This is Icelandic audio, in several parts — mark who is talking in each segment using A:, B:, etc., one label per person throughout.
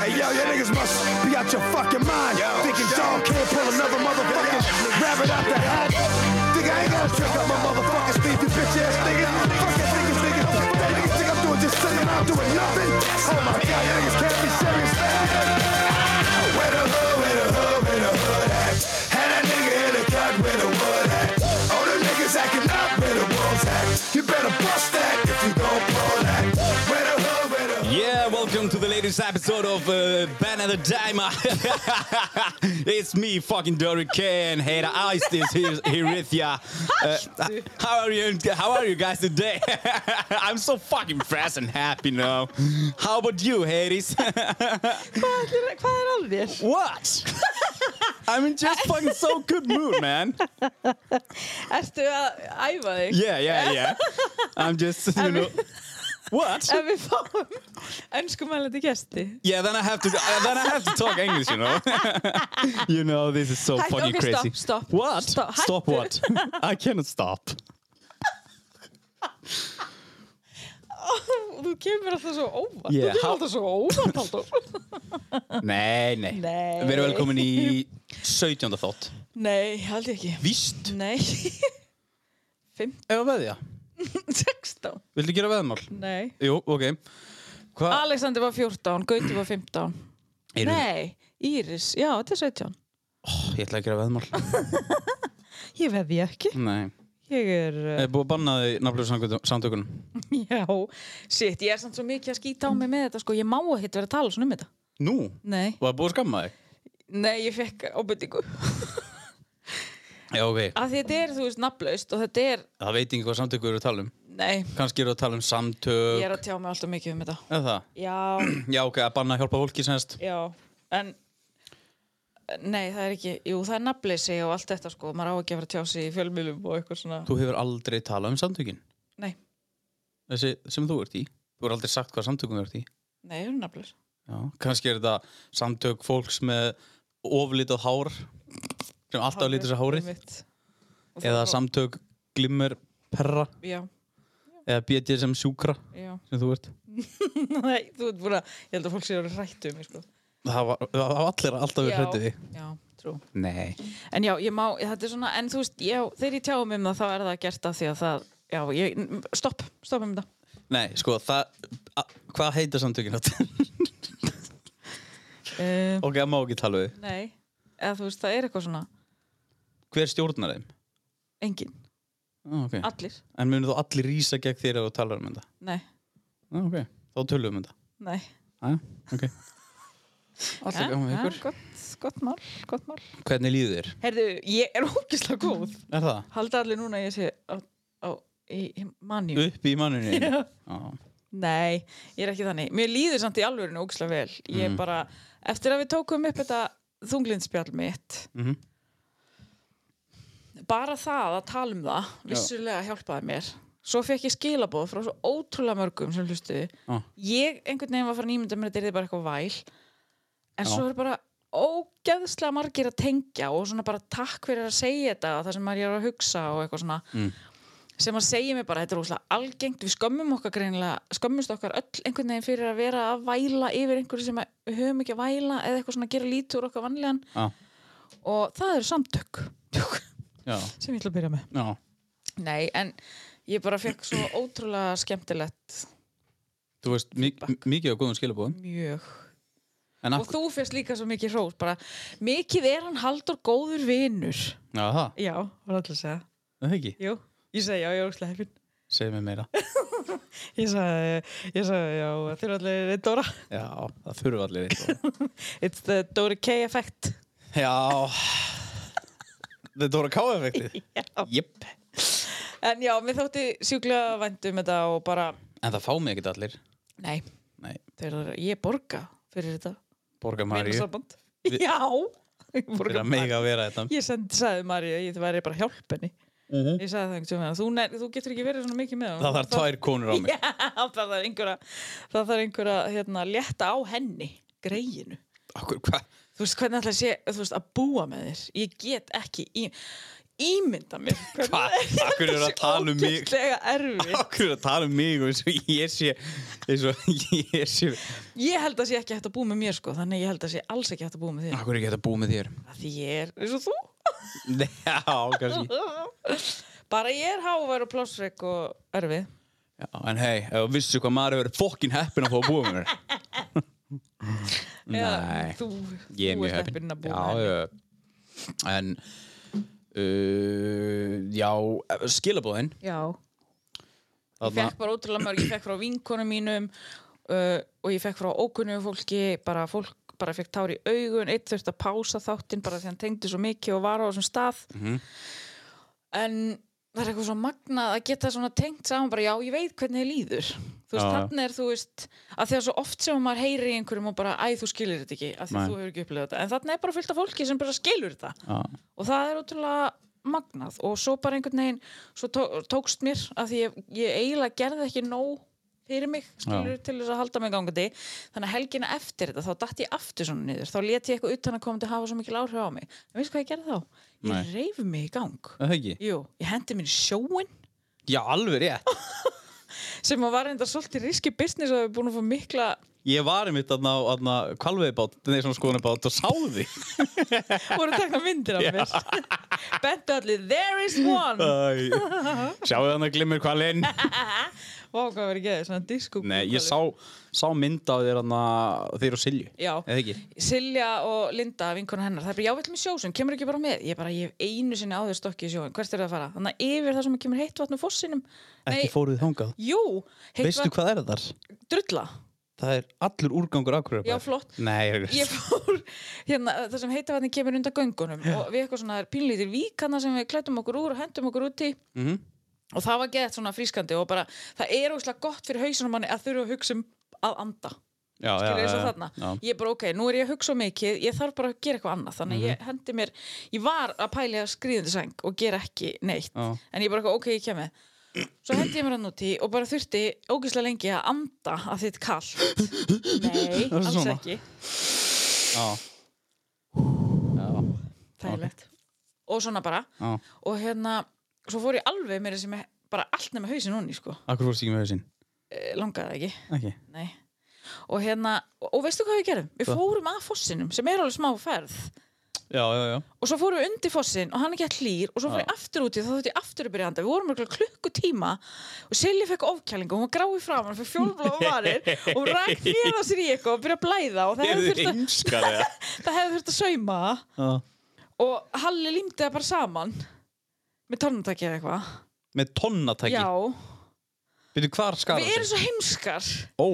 A: Hey, yo, you niggas must be out your fucking mind. Thinking dog can't pull another motherfucking rabbit out the hat. Think I ain't gonna trick up my motherfucking sleep, you bitch ass nigga. Fucking niggas, niggas, niggas think I'm doing just sitting out doing nothing. Oh my god, you niggas can't be serious, man. Where the hood, where the hood, where the hood at? Had a nigga in the cut with a wood at. All the niggas acting up with the wolves at. You better bust that if you gon' pull that. Where the hood, where the hood.
B: Yeah, welcome to the latest episode of uh, Ben and the Dimer. it's me, fucking Dory K, and Hera Ice is here, here with ya. Uh, how are you? How are you guys today? I'm so fucking fresh and happy now. How about you, Hades?
C: Hvað er, hvað er að þér?
B: what? I'm in just fucking so good mood, man.
C: Ertu að æfa þig?
B: Yeah, yeah, yeah. I'm just, you know. What?
C: Ef við fáum önskumælandi gesti
B: Yeah, then I have to uh, then I have to talk English, you know. you know, this is so
C: Hættu,
B: fucking
C: ok,
B: crazy.
C: stopp, stopp,
B: What?
C: stopp,
B: stop
C: hættu.
B: what? I cannot stop.
C: Þú kemur alltaf svo óvart
B: Yeah,
C: Þú kemur
B: how-
C: alltaf svo óvart Halldór.
B: Nei, nei.
C: Nei.
B: Við erum velkomin í 17. þátt.
C: Nei, held ég ekki
B: Víst.
C: Nei 5,
B: Ef að veðja.
C: 16
B: Viltu gera veðmál?
C: Nei
B: Jú, ok. Hvað?
C: Alexander var 14, Gauti var 15
B: Erum-
C: Ah, Nei, Íris, já, þetta er 17
B: Ég ætla að gera veðmál.
C: Ég veði ekki
B: Nei.
C: Ég er,
B: Það er búið að banna því nafnlöfum samtökunum.
C: uh, já, shit, ég er samt svo mikið að skýta á mig með þetta sko, ég má ekki vera að tala svona um þetta
B: Nú?
C: Nei
B: Var það búið að skamma þig?
C: Nei, ég fekk ábyrtingu
B: Já, ok.
C: að því þetta er, þú veist, nafnlaust og þetta er,
B: Það veit ekki hvað samtökur eru að tala um.
C: nei,
B: Kanski eru að tala um
C: ég
B: samtök.
C: er að tjá mig alltaf mikið um þetta
B: Eða það?
C: já,
B: Já, ok, að banna að hjálpa fólki semst.
C: já, en nei, það er ekki, jú, það er nafnleysi og allt þetta sko, maður á ekki að vera að tjá sig í fjölmiðlum og eitthvað svona,
B: Þú hefur aldrei talað um samtökin.
C: nei,
B: þessi sem þú ert í þú er aldrei sagt hvað samtökum þú ert í
C: nei, ég er nafnlaus
B: Já. kannski er þetta samtök fólks með oflitað hár sem alltaf lítur sér hárið
C: Einmitt. Og það
B: eða
C: er-
B: samtök glimmer perra
C: já,
B: eða BDSM sjúkra
C: já,
B: sem þú ert
C: nei, þú ert búin að ég held að fólk sé að vera hrættu um mig sko
B: það var, það var allir alltaf verið
C: Já,
B: hrættið því
C: já, trú
B: Nei.
C: En já, ég má, þetta er svona, en þú veist, já, þegar ég tjáum um það, þá er það gert að því að það, já, ég, stopp, stopp um þetta.
B: Nei, sko, það a, hvað heita samtökin þetta?
C: Uh,
B: ok, það má ekki tala við
C: Nei, eða þú veist, það er eitthvað svona
B: Hver stjórnar þeim?
C: engin,
B: Ah, okay.
C: allir,
B: En munir þú allir rýsa gegn þér ef þú talar um þetta?
C: nei,
B: Ah, ok, þá tölum við um þetta
C: nei
B: ah, ok Alltaf gaman við ykkur
C: gott, gott mál, gott mál
B: Hvernig líður þér?
C: Herðu, ég er ógislega góð
B: Er það?
C: Halda allir núna að ég sé á, á í, í manju
B: upp í manninu
C: Já.
B: Já.
C: Nei, ég er ekki þannig Mér líður samt í alvörinu ógislega vel Ég
B: Mm.
C: bara, eftir að við tókum upp þetta þunglinspjall mitt
B: Mhm.
C: Bara það að tala um það vissulega hjálpaði mér Svo fekk ég skilaboð frá svo ótrúlega mörgum sem hlustuðu
B: Já.
C: ég einhvern veginn var farin að ímynda mér að þetta er bara eitthvað væl en
B: Já.
C: svo er bara ógeðslega margir að tengja og svona bara takk fyrir að segja þetta og það sem maður er að hugsa og eitthvað svona
B: Mm.
C: sem að segja mér bara, þetta er óslega algengt við skömmum okkar greinilega, skömmumst okkar öll einhvern veginn fyrir að vera að væla yfir einhverju sem að við höfum ekki að væla eða eitthvað svona að gera lítur okkar vanlegan
B: Já.
C: og það eru samtök
B: Já.
C: sem ég ætla að byrja með
B: Já.
C: Nei, en ég bara fekk svo ótrúlega skemmtilegt
B: Þú veist mik mikið á góðum skilabóðum
C: mjög
B: En
C: og
B: af
C: þú fyrst líka svo mikið hrós bara, mikið er hann haldur góður vinur
B: Já, það,
C: já, var alltaf að segja
B: það er ekki
C: Jú. ég segi já, ég er óslega heppin
B: Segðu mér meira
C: ég sagði, ég sagði já, þeir eru allir einn Dóra
B: Já, það þurfa allir eitt
C: it's the Dóri K effect
B: Já Þetta voru káefektið
C: já.
B: Jep
C: en já, mér þótti sjúklega væntum þetta og bara,
B: En það fá mig ekkert allir
C: nei,
B: Nei,
C: þeir eru ég borga fyrir þetta
B: borga Maríu
C: Vinasamband.
B: Vi-
C: já, ég
B: Fyrir
C: borga
B: að mega vera þetta
C: ég sendi, sagði Maríu, ég væri bara hjálpenni
B: Mhm.
C: ég sagði það einhvern veginn þú, nei, þú getur ekki verið svona mikið með honum.
B: Það þarf tvær konur á mig
C: Já, það þarf einhverja það þarf einhverja hérna, létta á henni greiðinu
B: Akkur, hva?
C: þú veist hvernig ætla að sé þú veist, að búa með þér ég get ekki í, ímynda mér
B: Hva? Af hverju eru að tala um mig?
C: Ógæstlega erfið
B: Akkur að tala um mig og eins og ég sé eins og ég sé
C: Ég held að sé ekki hægt að búa með mér sko Þannig að ég held að sé alls ekki hægt að búa með þér
B: Akkur er ekki hægt að búa með þér
C: Af Því ég er, eins og þú
B: Nei, Já, kannski
C: Bara ég er hávær og plásrek og erfið
B: Já, En hei, ef þú vissu hvað maður hefur verið fokkin heppin að fá að búa með mér Nei,
C: þú,
B: ég er
C: þú
B: mjög
C: ert
B: heppin
C: heppin að búa með
B: já,
C: henni.
B: já. En uh, Já, skilabóðin
C: Já, ég
B: Þarna,
C: fekk bara ótrúlega mörg, ég fekk frá vinkonum mínum uh, og ég fekk frá ókunnum fólki, bara fólk bara fekk tár í augun, eitt þurfti að pása þáttinn bara því hann tengdi svo mikið og var á þessum stað
B: Mhm.
C: en það er eitthvað svo magnað að geta svona tengt saman bara já, ég veit hvernig þið líður þú veist,
B: Já, já.
C: þannig er þú veist að því að svo oft sem maður heyri í einhverjum og bara æ, þú skilir þetta ekki, að því
B: Nei.
C: þú hefur ekki upplifað þetta en þannig er bara fullt af fólki sem bara skilur þetta
B: já,
C: og það er ótrúlega magnað og svo bara einhvern veginn svo tó- tókst mér að því ég, ég eiginlega gerði ekki nóg fyrir mig skilur til þess að halda mig gangandi þannig að helgina eftir þetta þá datt ég aftur svona niður þá let ég eitthvað utan að koma til að hafa svo mikil áhrif á mig en veist hvað ég gerði þá? Ég
B: Nei.
C: reif mig í gang
B: Er það ekki?
C: Jú, ég hendi mér í sjóin
B: Já, alveg rétt
C: sem að var enda svolítið riski business og hefur búin að fá mikla
B: Ég var einmitt aðna á kvalveibát Nei, svona skoðanabát og sáði því
C: voru að tekna myndir af mér bentu allir, there is one
B: Æ, Sjáu þannig að glimmer hvalinn
C: Vá, hvað verið geðið, svona diskó
B: Nei, ég sá, sá mynd á þér hana, þeir og Silju
C: Já.
B: Eða ekki?
C: Silja og Linda, vinkona hennar, það er bara, já, við ætlum í sjósun, kemur ekki bara með? Ég bara, ég hef einu sinni áður stokki í sjóin, hvert er það að fara? Þannig að yfir það sem kemur heitt vatn og fossinum.
B: Ekki fóruð þangað
C: Jú, heitt
B: Veistu hvað er þar?
C: vatn, drulla.
B: Það er allur úrgangur akkurat
C: Já, flott.
B: Nei, ég,
C: Ég fór, hérna, það sem heita vatni kemur undan göngunum og við eitthvað svona pínlítir víkana sem við klættum okkur úr og hendum okkur úti
B: Mhm.
C: og það var gett svona frískandi og bara, það er óslega gott fyrir hausunum manni að þurfa að hugsa um að anda.
B: já,
C: skilur
B: já,
C: þess
B: já,
C: að þarna
B: já.
C: ég bara ok, nú er ég að hugsa of mikið ég þarf bara að gera eitthvað annað þannig ég
B: Mhm.
C: hendi mér, ég var að pæli að skriðandi sæng og gera ekki neitt
B: Já.
C: en ég bara eitthvað, ok, ég kem með svo hendi ég mér hann úti og bara þurfti ógislega lengi að anda að þitt kall nei,
B: Það er
C: alls
B: svona.
C: ekki
B: Já. Já.
C: þægilegt og svona bara,
B: Já.
C: og hérna svo fór ég alveg mér sem ég bara allt nema hausin honni sko,
B: Akkur fórst ekki með hausinn
C: Eh, langaði það ekki
B: Ekki
C: Nei. og hérna, og, og veistu hvað við gerum? við
B: Hvað?
C: fórum að fossinum sem er alveg smá ferð
B: Já, já, já
C: og svo fórum við undir fossin og hann ekki að hlýr og svo fórum við aftur úti og þá þútt ég aftur að byrja að anda við vorum mjög klukkutíma og Silja fekk ofkjælingu og hún var grái fram hann fyrir fjólblóða varir og hún rak fjöða sér í eitthvað og byrja að blæða og það hefði þurft að,
B: heimskar eða?
C: það hefði þurft að sauma það.
B: Já.
C: og Halli límdi það bara saman með tónumtaki eða eitthvað
B: Með tonnatæki
C: Já,
B: Byrju, hvar skara
C: við erum svo heimskar
B: Ó,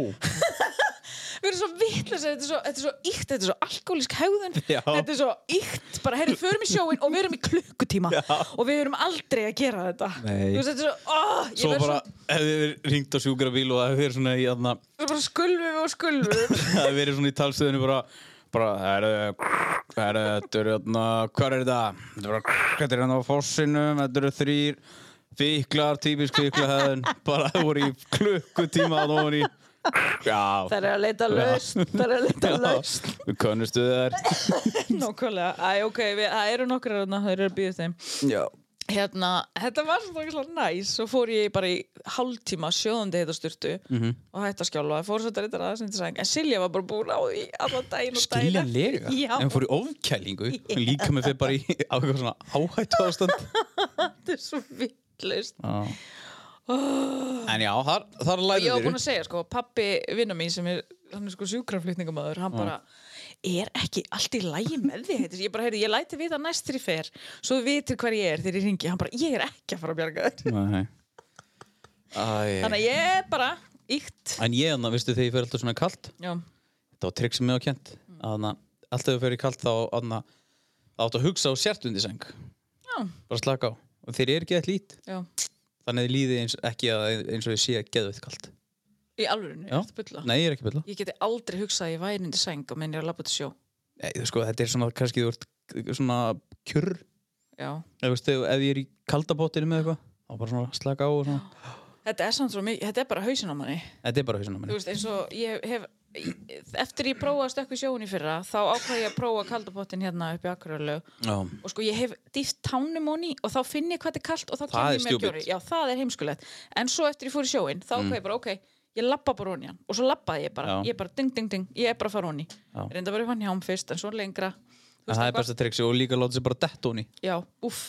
C: við erum svo vitlega þetta er svo, þetta er svo íkt, þetta er svo alkohólisk hegðun
B: Já.
C: þetta er svo íkt, bara herri, förum í sjóin og við erum í klukkutíma Já. og við erum aldrei að gera þetta
B: Nei.
C: þú veist, þetta er svo, oh, ég
B: svo
C: verð
B: bara hefði verið ringt á sjúkrabíl og það hefði verið svona í aðna
C: svo bara skulvum og skulvum
B: það hefði verið svona í talstöðinu bara bara, herðu, herðu, þetta eru hérna, hvað er þetta? Þetta eru bara, þetta eru hérna á fossinum, þetta eru þrýr fíklar, típisk fíklahæðin, bara það voru í klukkutíma að það voru í, já,
C: það er að leita laust, það er að leita laust
B: já, við könnustu þær.
C: nákvæmlega, æ, ok, við, það eru nokkrar þarna, það eru að býða þeim
B: Já.
C: hérna, þetta var svona ógeðslega næs svo fór ég bara í hálftíma sjóðandi heitasturtu
B: Mhm.
C: -hmm. og hætt að skjálfa fór svo þetta reyndar aðeins undir sæng en Silja var bara búin á því allan daginn og daginn eftir.
B: Skiljanlega,
C: Já.
B: en fór í ofkælingu, en líka með þeir bara í á eitthvað svona áhættu ástand.
C: þetta er svo vittlaust
B: En já, þar, þar
C: ég var
B: læriðu
C: búin
B: þér.
C: að segja sko, pappi vinna mín sem er, hann er sko sjúkraflutningamæður hann bara, er ekki allt í lægi með því, heitir, ég bara, heyrði, ég læti vita næst þegar ég fer, svo þú vitir hver ég er þegar ég ringi, hann bara, ég er ekki að fara að bjarga þér
B: Nei. Æ,
C: þannig að ég er bara, íkt
B: En ég þannig, veistu, þegar ég fer alltaf svona kalt
C: já,
B: Þetta var trikk sem ég á kent Þannig að alltaf þegar ég fer í kalt þá anna, áttu að hugsa á sértundi seng
C: já,
B: Bara slaka á Og þeir eru ekki eitthvað lít
C: já
B: Þannig að þið líði eins, ekki að, eins og ég sé að geðu eitthvað kalt
C: í alvörinu,
B: Já.
C: ég ætti bulla
B: Nei, ég er ekki byrla
C: ég geti aldrei hugsað að ég væri undir sæng og menn ég er að labba til sjó
B: Nei, þú sko, þetta er svona, kannski þú ert svona kjurr
C: já.
B: Eða veistu, ef ég er í kaldabótinu með eitthvað Þá bara svona slaka á og svona
C: þetta er samt svo mikið, þetta er bara hausin á manni
B: Þetta er bara hausinn á
C: þú
B: mér
C: veist, eins og ég hef eftir ég prófaði stökku sjóun í fyrra þá ákvæði ég að prófa kaldapottin hérna upp í Akurölu
D: Já.
C: og sko ég hef dýft tánum honni og þá finn ég hvað þetta er kalt og þá
D: er
C: kemur ég mér
D: stjúpid.
C: kjóri já það er heimskulegt en svo eftir ég fór í sjóin þá mm. ég bara ok ég lappa bara honni hann og svo lappaði ég bara
D: Já.
C: ég bara ding ding ding ég er bara að fara honni
B: Já.
C: reynda bara upp hann hjám fyrst en svo lengra
B: En
C: Þú
B: það
C: veist,
B: er
C: eitthvað-
B: besta triksi og líka láta sér bara dett hún í
C: já uff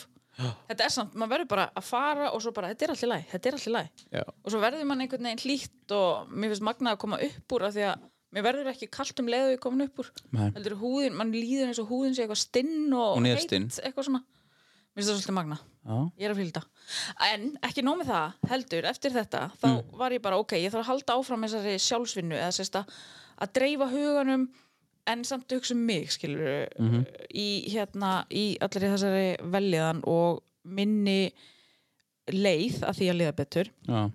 C: þetta er samt maður verður bara að fara og svo bara þetta er allir læg þetta er allir læg
B: Já.
C: og svo verður mann einhvern veginn hlýtt og mér finnst magnað að koma upp úr af því að mér verður ekki kalt um leiðu ég komin upp úr
B: Nei.
C: heldur húðin, mann líður eins og húðin sé eitthvað stinn og
B: Hún er stinn.
C: eitthvað svona mér finnst það svolítið magnað
B: Já.
C: ég er að fylgta en ekki nóg með það, heldur, eftir þetta þá
B: Mm.
C: var ég bara, ok, ég þarf að halda áfram þessari sjálfsvinnu eða sérst að að dreifa huganum en samt hugsa um mig, skilur
B: Mhm.
C: í hérna, í allir þessari velliðan og minni leið að því að liða betur
B: Já.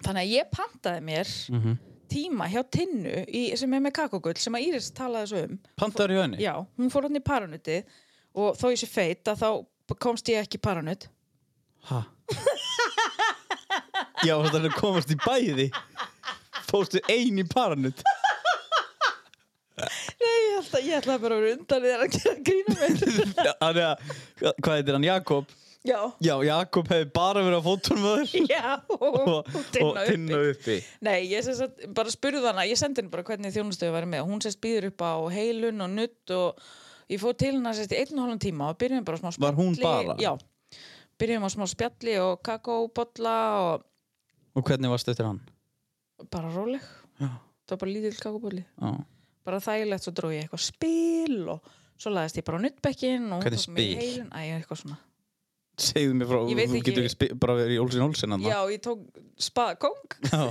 C: þannig að ég pantaði mér
B: Mhm.
C: tíma hjá Tinnu í, sem er með kakogull sem að Íris talaði svo um
B: Pantaður hjá henni?
C: já, hún fór hann í paranutið og þó ég sé feit að þá komst ég ekki í paranut
B: Ha? Já, þetta er að komast í bæði Fóstu ein í paranut
C: nei, ég ætla, ég ætla bara að vera undan við að gera grína mér
B: Þannig að, hvað heitir hann, Jakob?
C: já,
B: Já, Jakob hefði bara verið á fótunum að þér
C: já,
B: og, og tinnu uppi
C: Nei, ég sem sagt, bara spurði hana, ég sendi henni bara hvernig þjónustöðu væri með og hún sérst býður upp á heilun og nutt og ég fór til hennar sérst í einn og hálfum tíma og byrjum bara á smá spjalli.
B: Var hún bara?
C: Já, byrjum á smá spjalli og kakóbolla og
B: Og hvernig varstu eftir hann?
C: bara róleg.
B: Já.
C: Það var bara lítill kakóbolli.
B: Já.
C: Bara þægilegt svo dró ég eitthvað spil og svo laðist ég bara á nuttbekkin og hún
B: Hvernig
C: tók mig í
B: spil?
C: heilun. Æ, eitthvað svona.
B: Segðu mér frá,
C: Ég veit
B: þú
C: ekki-
B: getur ekki spi- bara verið í Olsson Olsson hann
C: Já, ég tók spaða kong.
B: Já.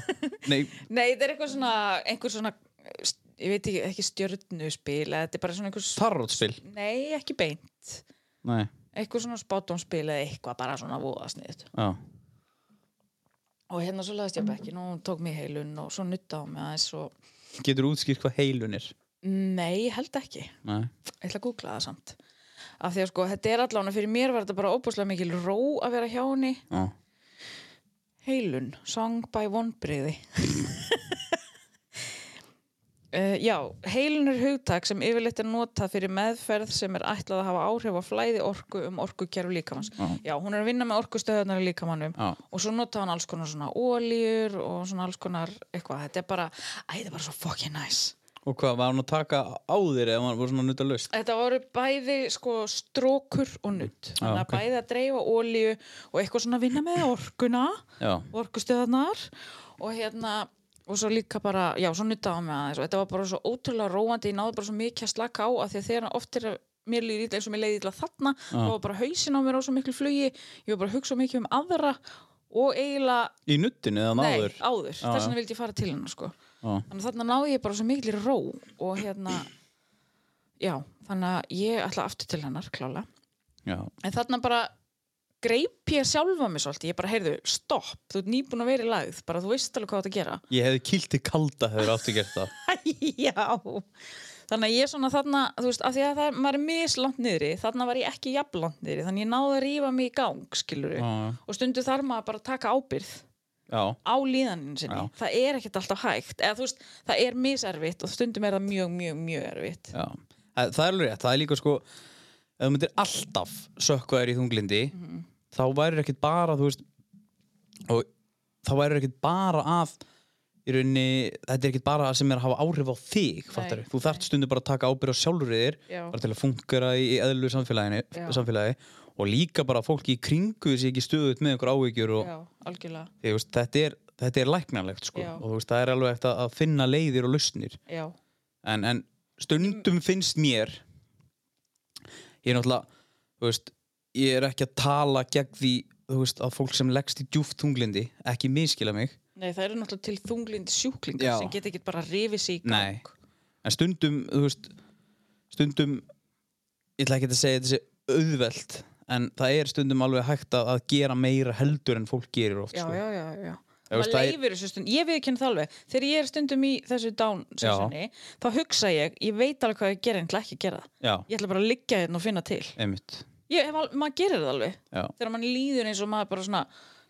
B: Nei,
C: Nei, þetta er eitthvað svona, einhver svona, ég veit ekki, ekki stjörnuspil, eða þetta er bara svona einhver...
B: tarotspil
C: Nei, ekki beint
B: Nei,
C: eitthvað svona spátumspil eða eitthvað bara svona voðasnið
B: já
C: og hérna svo laðist ég á bekkin og hún tók mig í heilun og svo nutta á mig aðeins og
B: Getur útskýrt hvað heilun er
C: nei, ég held ekki ég
B: Nei
C: ætla að googla það samt af því að sko, þetta er allan fyrir mér var þetta bara óbúslega mikil ró að vera hjá henni
B: Já.
C: heilun, song by vonbriði Uh, já, heilun er hugtak sem yfirleitt er notað fyrir meðferð sem er ætlað að hafa áhrif á flæði orku um orkukerfi líkamanns. Já, hún er að vinna með orkustöðunar í líkamannum
B: Já.
C: og svo notaði hann alls konar svona ólíur og svona alls konar eitthvað. Þetta er bara, æ, þetta er bara svo fucking nice.
B: Og hvað, var hann að taka á þér eða var var svona nutt að laust?
C: Þetta voru bæði sko strókur og nutt. Þannig að
B: ok.
C: bæði að dreifa ólíu og eitthvað svona vinna með orkuna,
B: Já.
C: orkustöðarnar og hérna og svo líka bara, já, svo nuttaði hann með aðeins og þetta var bara svo ótrúlega róandi, ég náði bara svo mikið að slaka á af því að þegar oft er að mér líður illa eins og mér leiði illa þarna þá var bara hausinn á mér á svo miklu flugi ég var bara að hugsa svo mikið um aðra og eiginlega
B: Í nuttinu eða náður?
C: Nei,
B: Um
C: áður,
B: Já,
C: þess
B: já.
C: vegna vildi ég fara til hennar sko.
B: Já.
C: Þannig að þarna náði ég bara svo mikil ró og hérna já, þannig að ég ætla aftur til hennar klála,
B: Já.
C: en þarna bara greip ég sjálfa mig svolítið ég bara, heyrðu, stopp, þú ert nýbúin að vera í lagð bara þú veist alveg hvað þú átt að gera
B: Ég hefði kýlt í kalda hefur aftur gert það.
C: Já Þannig að ég svona þarna, þú veist, af því að það er, maður er mislant niðri, þarna var ég ekki jafnlant niðri, þannig ég náði að rífa mig í gang, skilur
B: Já, já.
C: og stundu þar maður bara að taka ábyrð
B: Já.
C: á líðaninu sinni.
B: Já.
C: Það er ekkert alltaf hægt. Eða þú veist, það er miservitt og stundum er það mjög, mjög, mjög erfitt.
B: Já. Það það er alveg rétt. Það er líka sko, ef þú myndir alltaf sökva þér í þunglindi, þá væri ekkit bara, þú veist, og þá væri ekkit bara að, í rauninni, þetta er ekkit bara sem er að hafa áhrif á þig, fattar Þú þarft stundu bara að taka ábyrð á sjálfur þér,
C: Já.
B: bara til að fungera í eðlu samfélaginu,
C: Já.
B: samfélagi, og líka bara að fólki í kringu sé ekki stöðut með einhver áhyggjur og,
C: Já, algjörlega.
B: Ég, veist, þetta, er, þetta er læknarlegt sko.
C: Já.
B: og þú veist, það er alveg eftir að finna leiðir og lausnir
C: Já,
B: en, en stundum finnst mér ég er náttúrulega þú veist, ég er ekki að tala gegn því þú veist, að fólk sem leggst í djúft tunglindi ekki miskila mig
C: nei, það eru náttúrulega til þunglindi sjúklingar
B: Já.
C: sem get ekki bara rifið sér í
B: Nei.
C: gang.
B: en stundum þú veist, stundum ég ætla ekki að segja þetta sé auðvelt en það er stundum alveg hægt að, að gera meira heldur en fólk gerir oft
C: Já,
B: sko.
C: já, já, já.
B: Ég veist,
C: Maður
B: það er-
C: leifir þessu stund, ég viðkynna það alveg. Þegar ég er stundum í þessu dán-sessunni, þá hugsa ég, ég veit alveg hvað ég gera en ætla ekki að gera það.
B: já,
C: Ég ætla bara að liggja hérna og finna til.
B: einmitt
C: Ég, hef al- maður gerir það alveg.
B: já,
C: Þegar mann líður eins og maður bara svona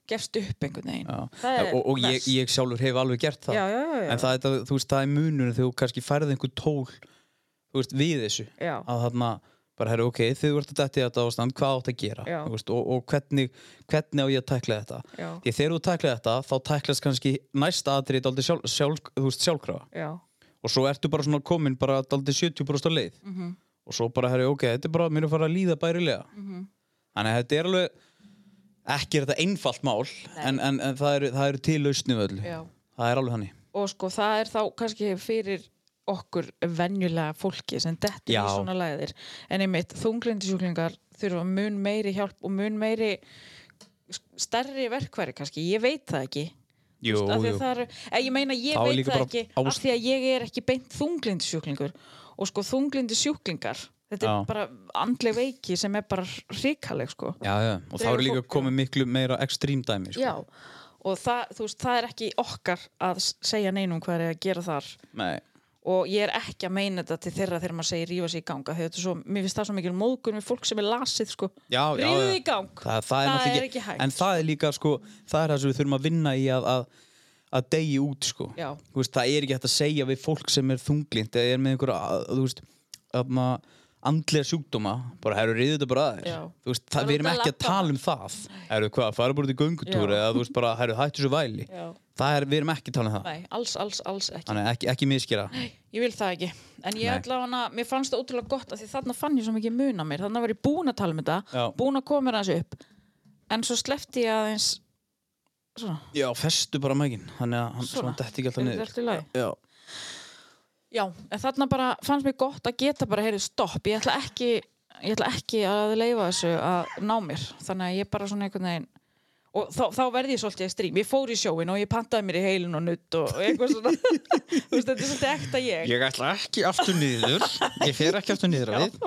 C: gefst upp einhvern veginn
B: Já.
C: Það er
B: og, og ég,
C: verst.
B: ég sjálfur hef alveg gert það
C: Já, já, já, já.
B: en það, er það, þú veist, það er munur þegar þú kannski færði einhver tól þú veist, við þessu
C: Já.
B: að þarna bara herri ok, þið vart að detti þetta ástand hvað átt að gera
C: Já.
B: þú veist, og, og hvernig, hvernig á ég að tækla þetta
C: Já.
B: því þegar þú tækla þetta þá tæklast kannski næsta atrið aldrei sjálf, sjálf, þú veist, sjálfkrafa
C: já,
B: og svo ertu bara svona komin bara aldrei 70% á leið -hmm.
C: Mhm.
B: og svo bara herri ok, þetta er bara mér er að fara að líða bærilega -hmm.
C: Mhm.
B: þannig að þetta er alveg ekki er þetta einfalt mál en, en, en það eru það eru til lausnum öllu
C: já.
B: það er alveg hannig
C: og sko það er þá kannski fyrir okkur venjulega fólki sem dettur
B: Já.
C: í svona læðir en einmitt þunglindisjúklingar þurfa mun meiri hjálp og mun meiri stærri verkværi kannski, ég veit það ekki
B: Jú,
C: Af því
B: jú.
C: að það er, eh, ég meina ég
B: Það var
C: veit
B: líka
C: það
B: bara
C: ekki af
B: ást-
C: því að ég er ekki beint þunglindisjúklingur og sko þunglindisjúklingar þetta
B: Já.
C: er bara andleg veiki sem er bara hrikaleg sko
B: Já, já, og þá
C: Dregur
B: eru líka
C: fólk-
B: komið miklu meira ekstrím dæmi sko.
C: Já, og það, þú veist, það er ekki okkar að s- segja neinum hvað er að gera þar
B: Nei,
C: og ég er ekki að meina þetta til þeirra þegar maður segir rífa sig í ganga þegar þetta er svo, mér finnst það svo mikil móðgun við fólk sem er lasið sko
B: já, já,
C: rífið
B: já.
C: þig í gang,
B: það, það, er náttúrulega
C: ekki hægt
B: En það er líka, sko, það er það sem við þurfum að vinna í að, að, að degi út, sko
C: Já.
B: Þú veist, Það er ekki hægt að segja við fólk sem er þunglind eða er með einhverja, að- þú veist að andlega sjúkdóma bara, herru, riðu þetta bara að
C: Já.
B: þér Þú veist,
C: Bara
B: það, við erum
C: út að
B: ekki að
C: labba.
B: tala um það Herru, hvað, fara bara út í göngutúr
C: Já.
B: eða, þú veist, bara, herru, hættu svo væli
C: Já.
B: Það er, við erum ekki að tala um það
C: Nei, alls, alls, alls ekki
B: Þannig, ekki, ekki miskera
C: Ég vil það ekki, en ég
B: Nei.
C: ætla hana mér fannst það ótrúlega gott að því þarna fann ég svo mikið mun á mér, þarna var ég búin að tala um þetta
B: Já.
C: búin að koma mér aðeins upp en svo sleppti ég aðeins svona,
B: Já, festu bara mækin Þannig að hann
C: Svona.
B: svona detti ekki alltaf
C: Er þetta
B: niður
C: allt í lagi?
B: Já,
C: já, en þarna bara fannst mér gott að geta bara heyrið stopp, ég ætla ekki ég ætla ekki að leifa þessu að ná mér, þannig að ég bara svona einhvern veginn og þá, þá verði ég svolítið strím ég fór í sjóin og ég pantaði mér í heilin og nutt og og eitthvað svona þú veist, þetta er svolítið ekta ég
B: Ég ætla ekki aftur niður Ég fer ekki aftur niður að við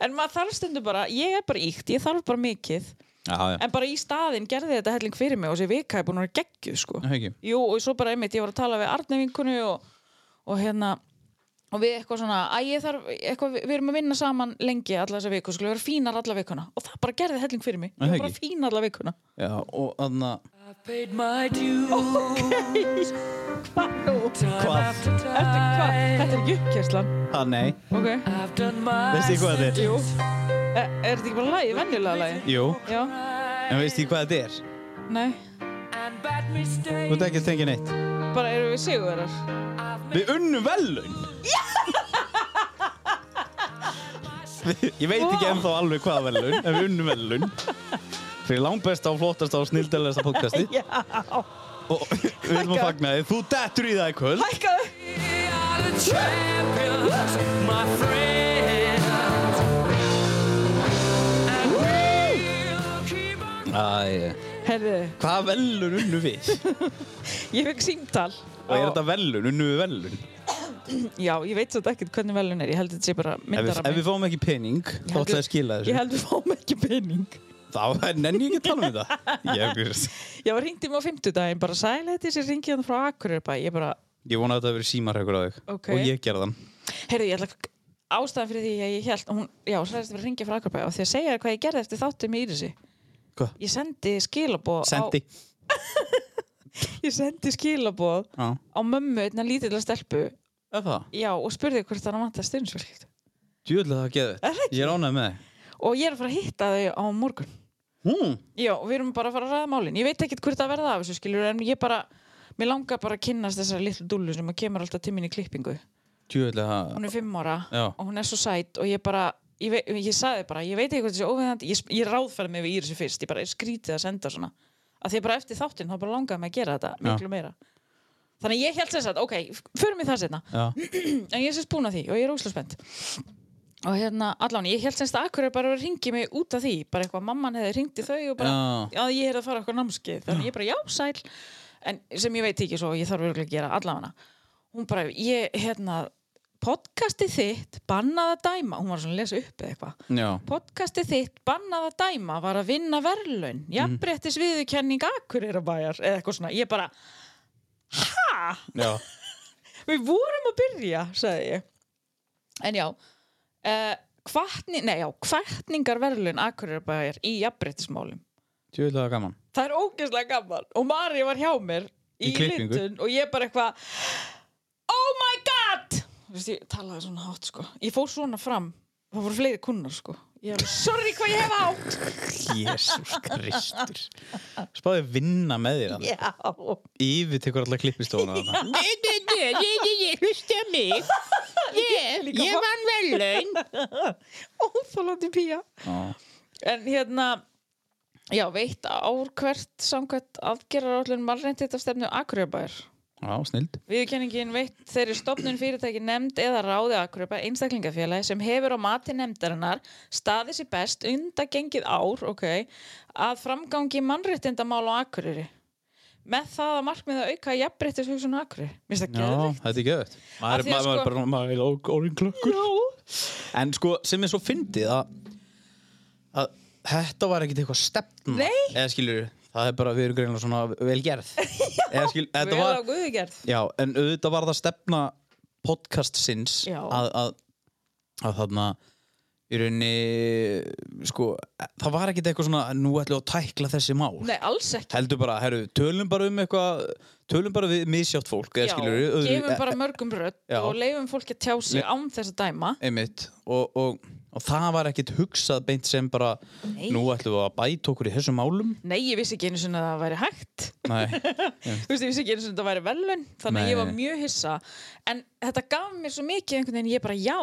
C: en maður þarf stundu bara, ég er bara íkt ég þarf bara mikið
B: Já, já
C: En bara í staðinn gerði þetta helling fyrir mig og þessi vika er búin að vera geggjuð sko.
B: Er það ekki?
C: Jú, og svo bara einmitt, ég var að tala við Arnevinkunu og, og hérna og við eitthvað svona, að ég þarf eitthvað, við erum að vinna saman lengi alla þessa viku, skulle vera fínar alla vikuna og það bara gerði helling fyrir mig,
B: Er
C: ég
B: það
C: var bara
B: ekki?
C: fín alla vikuna
B: Já, og þannig að
C: Hvað nú?
B: Hvað?
C: Ertu hvað? Þetta er ekki uppkjærslan
B: Ha, nei
C: Ok,
B: Veist þið hvað þetta er?
C: jú Er, er þetta ekki bara lagið, venjulega lagið?
B: Jú
C: Já,
B: En veist þið hvað þetta er?
C: nei,
B: Þú ert ekki að tengja neitt
C: bara erum við sigurverar
B: Við unnum velun Ég veit ekki ennþá alveg hvað velun En við unnum velun Fyrir langbesta og flottasta og snildalegasta podcasti
C: Já,
B: Og við viljum að fagna þið Þú dettur í það í kvöld
C: hækkaðu
B: Æ,
C: Herðu,
B: hvað velun unnum við?
C: ég fekk símtal
B: Og er þetta velun? Unnum við velun?
C: Já, ég veit svolítið ekkert hvernig velun er, ég held að þetta sé bara
B: Ef við,
C: myndar
B: ef við fáum ekki pening, þá ætla ég að skila þessu.
C: Ég held við fáum ekki pening.
B: Þá nenni ég ekki að tala um þetta. Ég,
C: Já, hringdi mig á fimmtudaginn, bara sæl þetta þessi ringi hann hérna frá Akureyrabæ. Ég bara,
B: ég vona að þetta hafi verið símarhaukur á þig.
C: Ok.
B: Og ég gerði hann.
C: heyrðu, ég ætla að ástæðan fyrir því að ég held, hún, já, sæðist bara ringja frá Akureyrabæ og því að segja þér hvað ég gerði eftir þáttum í Írisi.
B: Hvað?
C: Ég sendi skilabóð
B: Sendi.
C: á, ég sendi skilabóð
B: Já.
C: á mömmu einna lítilla stelpu,
B: Er það?
C: já, og spurði hvort hann vant að stundisverkilt.
B: Djúðlega það geði
C: Er það
B: þetta.
C: ekki?
B: Ég er ánægð með Hm? þig.
C: Og ég er að fara að hitta þau á morgun.
B: Hún?
C: Já, og við erum bara að fara að ræða málin. Ég veit ekkert hvert að verða af þessu, skilur, en ég bara, mér langar bara að kynnast þessari litlu dullu sem að kemur alltaf til mín í klippingu.
B: Djúðlega það.
C: Hún er fimm ára
B: Já.
C: og hún er svo sætt og ég bara, ég, vei, ég sagði bara, ég veit ekki hvað þessi óveðandi, ég, ég ráðferði mig við Írisi fyrst, ég bara er skrítið að senda svona. Að því að bara eftir þáttinn, þá bara langaði mig að gera þetta miklu meira. Þannig að ég held þess að, ok, förum við það setna
B: Já.
C: en ég er sérst búin að því og ég er óslega spennt og hérna, allan, ég held semst að akkur er bara að ringi mig út af því, bara eitthvað mamman hefði ringt í þau og bara, já, ég er að fara eitthvað námskeið, þannig ég bara, já, sæl en sem ég veit ekki svo, ég þarf örugglega að gera allavega hún bara, ég, hérna podcastið þitt bannað að dæma, hún var svona að lesa upp eða eitthvað
B: Já.
C: podcastið þitt bannað að dæma var að vinna verðlaun, jafnbrettis viðurkenning akkur er að bæjar, eða eitthvað svona ég bara, hæ?
B: Já.
C: Við vorum að byrja, sagði ég. En já, eh, uh, kvartni, nei, já, kvartningar verðlun Akureyrabæjar í jafnbrettismálum.
B: Tjóðlega gaman.
C: það er ógeðslega gaman og Mari var hjá mér
B: Í
C: í,
B: klippingu.
C: litun og ég bara eitthvað oh my god Þú veist, ég talaði svona hátt sko ég fór svona fram, það voru fleiri kunnar sko ég er sorry hvað ég hef átt
B: Jésús Kristur. Spáði vinna með þér hann.
C: já
B: Yfir tekur alla klippistofuna hann.
E: Nei, nei, nei, ég, ég, ég, hlusta mig. Ég,
C: Líka
E: ég
C: fá-
E: vann velun.
C: óþólandi pía en hérna já veitt ár hvert samkvæmt aðgerðar allir marreint þetta stefnu Akureybær
B: Já, snild.
C: Viðurkenningin veitt þeirri stofnun fyrirtæki nefnd eða ráði aðkrupa einstaklingafélagi sem hefur á mati nefndarinnar staðið sér best undagengið ár okay, að framgangi mannréttindamál á Akureyri með það að markmið að auka jafnréttis hugsun á Akureyri. Mér finnst það
B: Já,
C: geðvikt.
B: þetta er gæðut. Maður
C: Af
B: er
C: því að
B: maður er
C: sko-
B: bara, maður er orðin klökkur. En sko, sem er svo fyndið að, að þetta var ekkit eitthvað stefna.
C: Nei.
B: Eða skilur, það er bara, við erum greinlega svona vel gerð. Eða skilur, þetta
C: Vel
B: var,
C: á guði gerð.
B: já, en auðvitað var það stefna podcast sinns
C: Já.
B: að, að, að þarna, í rauninni, sko, það var ekkit eitthvað svona, nú ætlum við að tækla þessi mál.
C: Nei, alls ekki.
B: Heldur bara, herru, tölum bara um eitthvað, tölum bara við misjátt fólk, eða
C: Já,
B: skilur við,
C: gefum bara mörgum rödd
B: Já.
C: og leifum fólki að tjá sig án þess að dæma.
B: einmitt og, og, og það var ekkit hugsað beint sem bara nú ætlum við að bæta okkur í þessum málum
C: Nei, ég vissi ekki einu sinni að það væri hægt.
B: Nei,
C: Þú veist, ég vissi ekki eins og þetta væri velun þannig að
B: Nei.
C: ég var mjög hissa en þetta gaf mér svo mikið einhvern veginn ég bara já,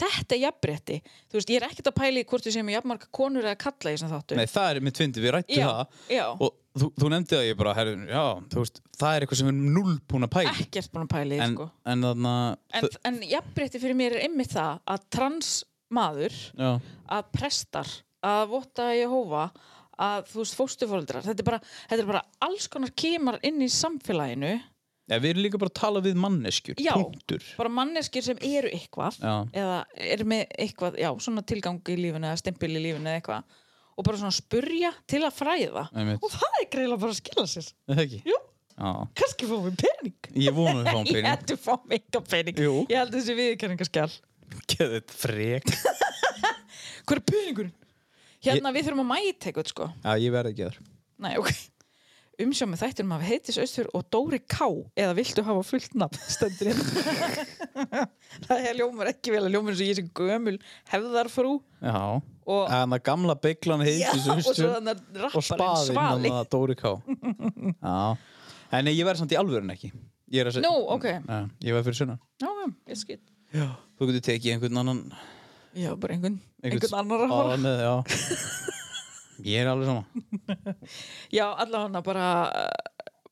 C: þetta er jafnbretti þú veist, ég er ekkert að pæli hvort við séum jafnmarga konur eða kalla í þessum þáttu
B: nei það er mitt fyndið, við rættum
C: Já,
B: það
C: já.
B: og þú, þú nefndi það ég bara herri, já, þú veist, það er eitthvað sem er null búin að pæla í.
C: ekkert búin að pæli
B: en,
C: sko.
B: en þarna
C: en, en jafnbretti fyrir mér er einmitt það að trans maður
B: já,
C: að prestar að votta Jehova að þú veist fóstuforeldrar þetta er bara, þetta er bara alls konar kemar inn í samfélaginu
B: ja, við erum líka bara að tala við manneskjur
C: Já.
B: punktur
C: bara manneskir sem eru eitthvað
B: Já.
C: eða eru með eitthvað, já, svona tilgang í lífinu eða stempil í lífinu eða eitthvað og bara svona spurja til að fræða
B: Einmitt.
C: og það er greiðlega bara að skila sér
B: Er það ekki?
C: Jú,
B: Já.
C: kannski fáum við pening
B: ég vonu við fáum
C: Ég
B: pening
C: heldur fá mig eitthvað pening
B: Jú.
C: Ég heldur þessi viðurkenningaskjál
B: Geðið frek
C: Hver er peningurinn? Hérna við þurfum að mæta eitthvað sko
B: Já, ég verði ekki þar
C: Nei, ok Umsjá með þættinum af heitis austur og Dóri K eða viltu hafa fullt nafn stendur hérna Það er ljómar ekki vel að ljómar eins og ég sem gömul hefðarfrú
B: Já,
C: Og-
B: en það gamla bygglan
C: Já,
B: heiti
C: og svo þannig að
B: og
C: rapparinn
B: spaðinn hann
C: Svali
B: að Dóri K Já, en nei, ég verð samt í alvörun ekki Ég er að
C: Nú, ok,
B: Já, Ég verð fyrir sunna
C: já, já, ég skil
B: Þú getur tekið einhvern annan
C: Já, bara einhvern, einhvern annar að
B: horf
C: horfa
B: með, já. Ég er alveg sama
C: Já, allavega bara,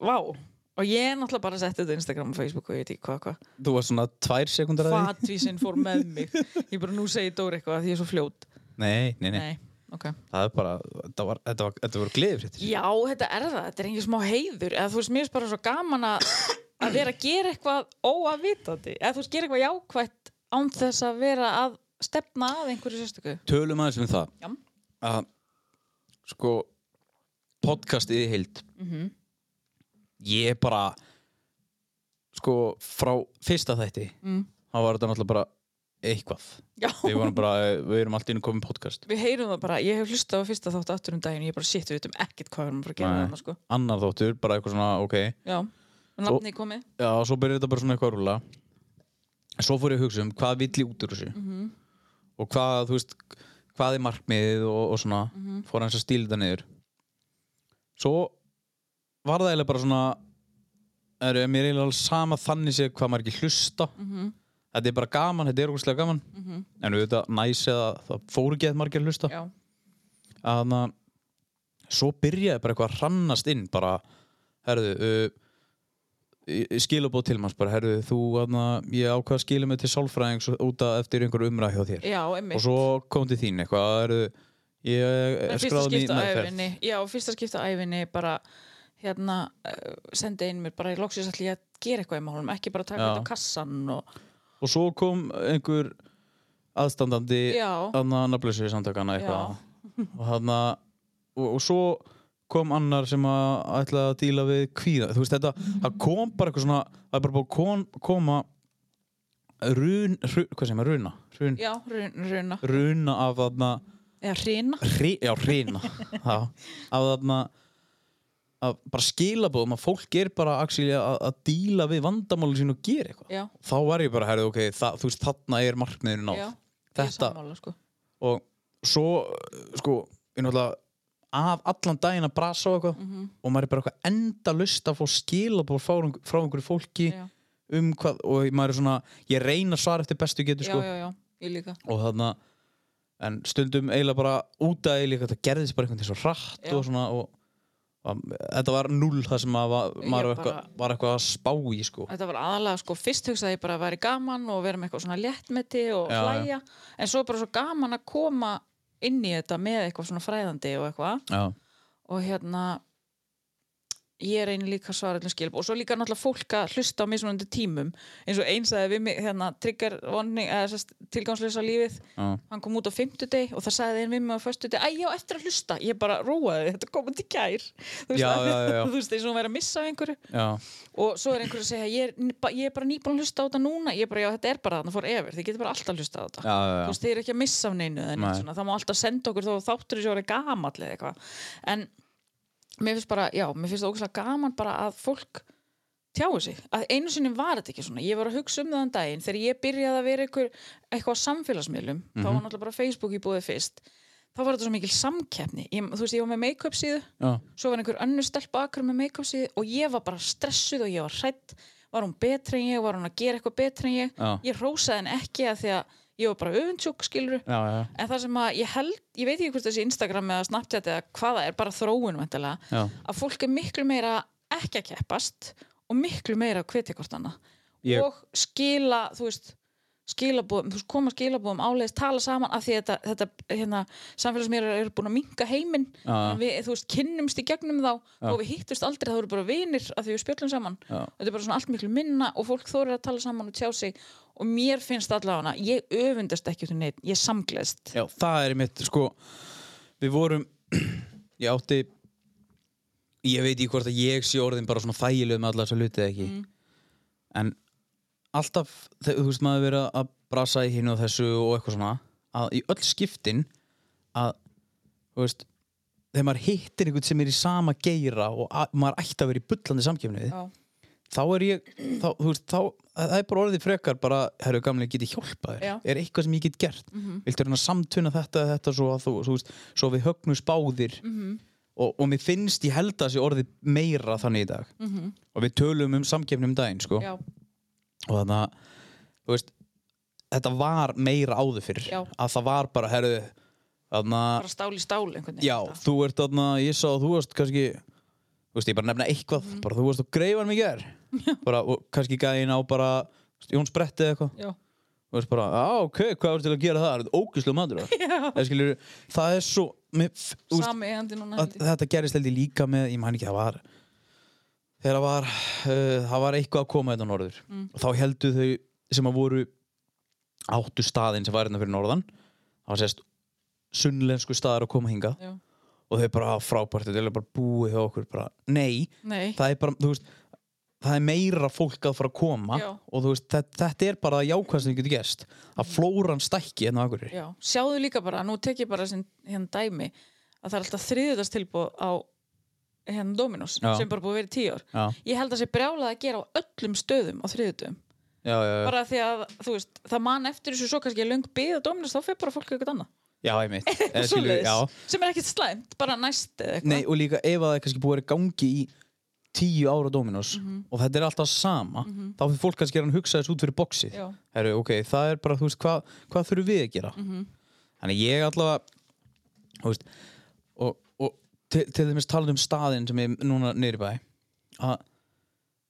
C: uh, vá Og ég náttúrulega bara setti þetta á Instagram og Facebook og ég veit ekki hvað, hvað
B: Þú varst svona tvær sekundar að því
C: Fatvísinn fór með mig Ég bara nú segi Dóri eitthvað af því ég er svo fljót
B: nei, nei, nei,
C: Nei, ok
B: það er bara Þetta, var, þetta, var, þetta voru gleðifréttir
C: Já, þetta er það, þetta er engin smá heiður eða þú veist, mér finnst bara svo gaman að að vera að gera eitthvað óavitandi eða þú veist, gera eitthvað jákvætt án þess að vera að stefna að einhverju sérstöku
B: Tölum aðeins um það
C: Já.
B: að sko podcastið í heild ég er bara sko frá fyrsta þætti
C: mm.
B: þá var þetta náttúrulega bara eitthvað
C: Já,
B: við vorum bara, við erum alltaf inn og komum podcast
C: við heyrum það bara, ég hef hlustað á fyrsta þátt aftur um daginn, ég bara shit, við veitum ekkert hvað við erum að fara að gera
B: Nei.
C: þarna, sko
B: annar þóttur, bara eitthvað svona, ok
C: Já, og nafni komið
B: já, svo byrjar þetta bara svona eitthvað að rúla svo fór ég að hugsa um hvað vill ég út úr þessu og hvað, þú veist hvað er markmiðið og, og svona fór hans að stíla þetta niður svo var það eiginlega bara svona er, mér er eiginlega alveg sama þannig sé hvað maður ekki hlusta þetta er bara gaman, þetta er ógustlega gaman en við þetta næs eða það fór ekki að margir að hlusta
C: Já,
B: að na, svo byrjaði bara eitthvað að hrannast inn bara, herðu uh, skilabóð til manns bara, herðu, þú, aðna, ég ákvað að skila mig til sálfræðings út að eftir einhverju umræð hjá þér
C: já,
B: og
C: emmi
B: svo kom til þín eitthvað, herðu ég er
C: fyrsta
B: skráð
C: skipta
B: nýtt
C: á
B: meðferð
C: æfinni Já, fyrsta skipta á æfinni bara hérna, uh, sendi inn mér bara, loksins ætli ég að gera eitthvað í málum ekki bara taka
B: Já.
C: þetta á kassan og
B: og svo kom einhver aðstandandi
C: Já.
B: aðna nafnlösu samtakana
C: Já.
B: eitthvað og, þarna, og, og svo kom annar sem að ætlaði að díla við kvíða þú veist þetta,
C: Mhm.
B: það kom bara eitthvað svona það er bara búið að kom, koma run, run, hvað sem er runa run,
C: Já, runa
B: runa af þarna
C: eða hrina
B: Hri, já, hreina Já. af þarna að bara skilabóðum að fólk er bara actually, að, að díla við vandamáli sín og gera eitthvað
C: Já.
B: þá var ég bara, herri, ok, það, þú veist, þarna er markmiðinu náð
C: Já, ég er
B: þetta,
C: sammála, sko.
B: og svo uh, sko, ég náttúrulega af allan daginn að brasa og eitthvað
C: Mhm.
B: og maður er bara eitthvað enda lust að fá skilabóð frá, einhver- frá einhverju fólki
C: Já.
B: um hvað, og maður er svona ég reyna að svara eftir bestu getur
C: já,
B: sko
C: já, já, ég líka
B: og þarna en stundum eiginlega bara út að eiginlega þetta gerðist bara einhvern veginn svo hratt
C: Já.
B: og svona og, og þetta var null það sem að var,
C: Ég
B: maður var
C: bara-
B: eitthvað, var eitthvað að spá í sko
C: Þetta var aðalega, sko, fyrst hugsaði ég bara að væri gaman og vera með eitthvað svona léttmeti og
B: Já,
C: hlæja, en svo er bara svo gaman að koma inn í þetta með eitthvað svona fræðandi og eitthvað
B: já,
C: og hérna ég er einu líka svarallum skilb og svo líka náttúrulega fólk að hlusta á mismunandi tímum eins og eins að við mig hérna, trigger vonning, eða sest, tilgangslösa lífið
B: já,
C: hann kom út á fimmtudeg og það sagði einn við mig á föstudeg, æ, ég á eftir að hlusta ég bara róaði, þetta komið til kær þú veist,
B: Já,
C: að-
B: já, já, já.
C: þú veist eins og hún væri að missa af einhverju
B: já,
C: og svo er einhverju að segja, ég er, n- ba- ég er bara nýbúin að hlusta á þetta núna, ég bara, já, þetta er bara þarna fór efer, þið getur bara alltaf að hlusta á þetta
B: já, já,
C: þú
B: já.
C: veist, þið er ekki að missa af neinu eða neitt
B: Nei.
C: svona. það má alltaf senda okkur þó að þáttur þessu orðið gamall eða eitthvað en mér finnst bara, já, mér finnst það ógæslega gaman bara að fólk tjáu sig, að einu sinni var þetta ekki svona ég var að hugsa um það en daginn, þegar ég byrjaði að vera ykkur, eitthvað á samfélagsmiðlum þá
B: Mhm.
C: var náttúrulega bara Facebook í búið fyrst þá var þetta svo mikil samkeppni ég, þú veist, ég var með make-up síðu
B: já.
C: svo var einhver önnur stelpa akkur með make-up síðu og ég var bara stressuð og ég var hrætt var hún betri en ég, var hún að gera eitthvað betri en ég
B: Já.
C: ég rósaði henn ekki að því að ég var bara öfundsjúk skilur
B: Já, já,
C: en það sem að ég held, ég veit ekki hvort þessi Instagram eða Snapchat eða hvaða er bara þróun væntanlega,
B: já.
C: að fólk er miklu meira ekki að keppast og miklu meira að hviti hvort annað
B: Ég-
C: og skila, þú veist skilabóðum, þú veist, koma skilabóðum áleiðis tala saman af því að þetta, þetta hérna, samfélagsmiðlar eru búin að minka heiminn
B: Já, já.
C: við, þú veist, kynnumst í gegnum þá og við hittumst aldrei, það voru bara vinir af því við spjöllum saman
B: Já.
C: þetta er bara svona allt miklu minna og fólk þórir að tala saman og tjá sig og mér finnst allavega ég öfundast ekki út í neitt, ég samgleðst
B: Já, það er mitt, sko Við vorum Ég átti Ég veit ekki hvort að ég sé orðin bara svona þægileg með alla þessa hluti eða ekki En alltaf, þe- þú veist maður verið að brasa í hinu og þessu og eitthvað svona að í öll skiptin að, þú veist þegar maður hittir einhvern sem er í sama geira og að, maður ætti að vera í bullandi samkjöfni við,
C: Já.
B: þá er ég þá, þú veist, þá, það er bara orðið frekar bara, herru gamlega, geti hjálpað
C: Já. Mhm.
B: þér er eitthvað sem ég get gert viltu reyna að samtuna þetta, eða þetta svo, að þú, þú veist, svo við högnum spáðir
C: Mhm.
B: -hmm. og, og mér finnst ég held að sé orðið meira þannig í dag -hmm. og við tölum um samkefni um daginn sko.
C: Mhm. já,
B: og þannig að þú veist, þetta var meira áður fyrir
C: Já.
B: að það var bara, herru þannig að
C: bara stál í stál einhvern veginn
B: Já, þú ert þarna, ég sá að þú varst kannski Þú veist, ég bara nefna eitthvað bara þú varst á greifanum í ger bara, og kannski gæðin á bara þú veist, Jón Spretti eða eitthvað
C: Já.
B: Þú veist bara, á ok, hvað var til að gera það Er þetta ógislega matur það skilur, það er svo mér, f- þú veist,
C: sami eðandi núna
B: að,
C: held ég.
B: þetta gerist held ég líka með, ég man ekki, það var þegar það var uh, það var eitthvað að koma þetta norður og þá heldu þau sem að voru áttu staðin sem var hérna fyrir norðan það var sérst sunnlensku staðar að koma hingað
C: Já.
B: og þau bara "Ah, frábært, þetta er bara búið hjá okkur bara, nei,
C: nei,
B: það er bara, þú veist það er meira fólk að fara að koma
C: Já.
B: og þú veist, þetta, þetta er bara jákvæð sem þau getur gest, að flóran stækki enn á akkurri,
C: já, sjáðu líka bara nú tek ég bara sem hérna dæmi að það er alltaf þriðutast tilbúð á hérna Dominos
B: Já.
C: sem bara búið að vera í tíu ár
B: Já.
C: ég held að sé brjálað að gera á öllum stöðum á þriðutum
B: já, já, já,
C: bara því að þú veist, það man eftir þessu svo kannski löng bið á Dominos þá fer bara fólk eitthvað annað
B: já, einmitt Eða Eh, skilur,
C: Svoleiðis.
B: já,
C: sem er ekkert slæmt, bara næst eða eitthvað
B: Nei, og líka ef að það er kannski búið að vera í gangi í tíu ára Dominos
C: Mhm.
B: og þetta er alltaf sama, þá fyrir fólk kannski að hann hugsa þess út fyrir boxið.
C: Já.
B: Heru, ok, það er bara, þú veist, hvað hva þurfum við að gera?
C: Mhm.
B: Þannig ég allavega, þú veist, og, og til, til dæmis talað um staðinn sem ég er núna niður í bæ, að,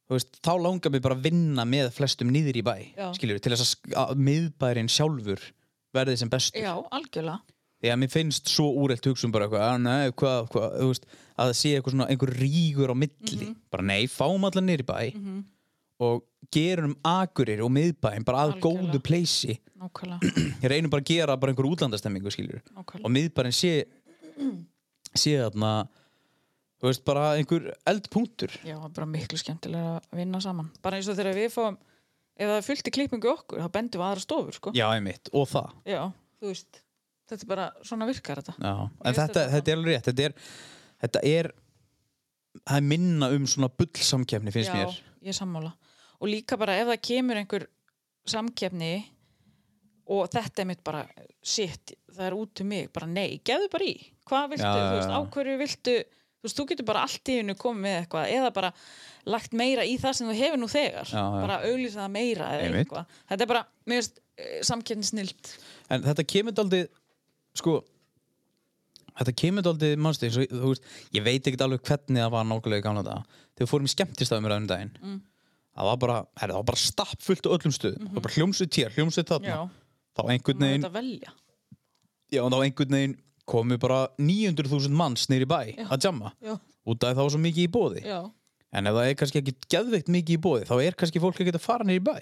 B: þú veist, þá langar mér bara að vinna með flestum niður í bæ,
C: Já.
B: skilur, til þess að, sk- að miðbærin sjálfur verði sem bestur
C: já, algjörlega
B: því að mér finnst svo úrætt hugsun bara eitthvað, að nei, hvað, hvað, þú veist að það sé eitthvað svona, einhver rígur á milli
C: Mhm.
B: bara nei, fáum allar niður í bæ og gerum akurir og miðbæin bara að
C: Algjörlega.
B: góðu pleysi
C: nákvæmlega,
B: ég reynum bara að gera bara einhver útlandastemmingu skiljur og
C: nákvæmlega.
B: miðbærin sé sé þarna þú veist, bara einhver eldpunktur
C: já, það er bara miklu skemmtilega að vinna saman bara eins og þegar við fáum ef það er fullt í klippingu okkur, þá bendum við aðra stofur sko.
B: já, einmitt, og það
C: já, þú veist þetta er bara, svona virkar þetta
B: Já, en
C: veist
B: þetta,
C: þetta.
B: þetta er alveg rétt þetta er, þetta er það er minna um svona bullsamkefni finnst
C: Já,
B: mér
C: ég er sammála og líka bara ef það kemur einhver samkefni og þetta er mitt bara shit, það er út um mig, bara nei gefðu bara í, hvað viltu,
B: Já, já,
C: þú veist,
B: já.
C: á hverju viltu þú veist, þú getur bara allt í hennu komið með eitthvað eða bara lagt meira í það sem þú hefur nú þegar,
B: Já, já.
C: bara auglýsa það meira eða
B: Einmitt.
C: eitthvað, þetta er bara mér veist, samkefni snilt
B: en þetta kemur daldið sko þetta kemur daldið mannstu eins og þú veist ég veit ekkert alveg hvernig það var nákvæmlega í gamla daga þegar við fórum í skemmtistafum raunum daginn
C: Mm.
B: það var bara, herri, það var bara stapp fullt á öllum stöðum það var bara hljómsveit hér, hljómsveit þarna
C: Já.
B: þá einhvern
C: maður
B: veginn
C: þetta velja
B: já, þá einhvern veginn komu bara 900.000 manns neyri bæ að jamma
C: Já.
B: út af því það var svo mikið í bóði
C: Já,
B: en ef það er kannski ekki geðveikt mikið í bóði þá er kannski fólk ekki að fara neyri bæ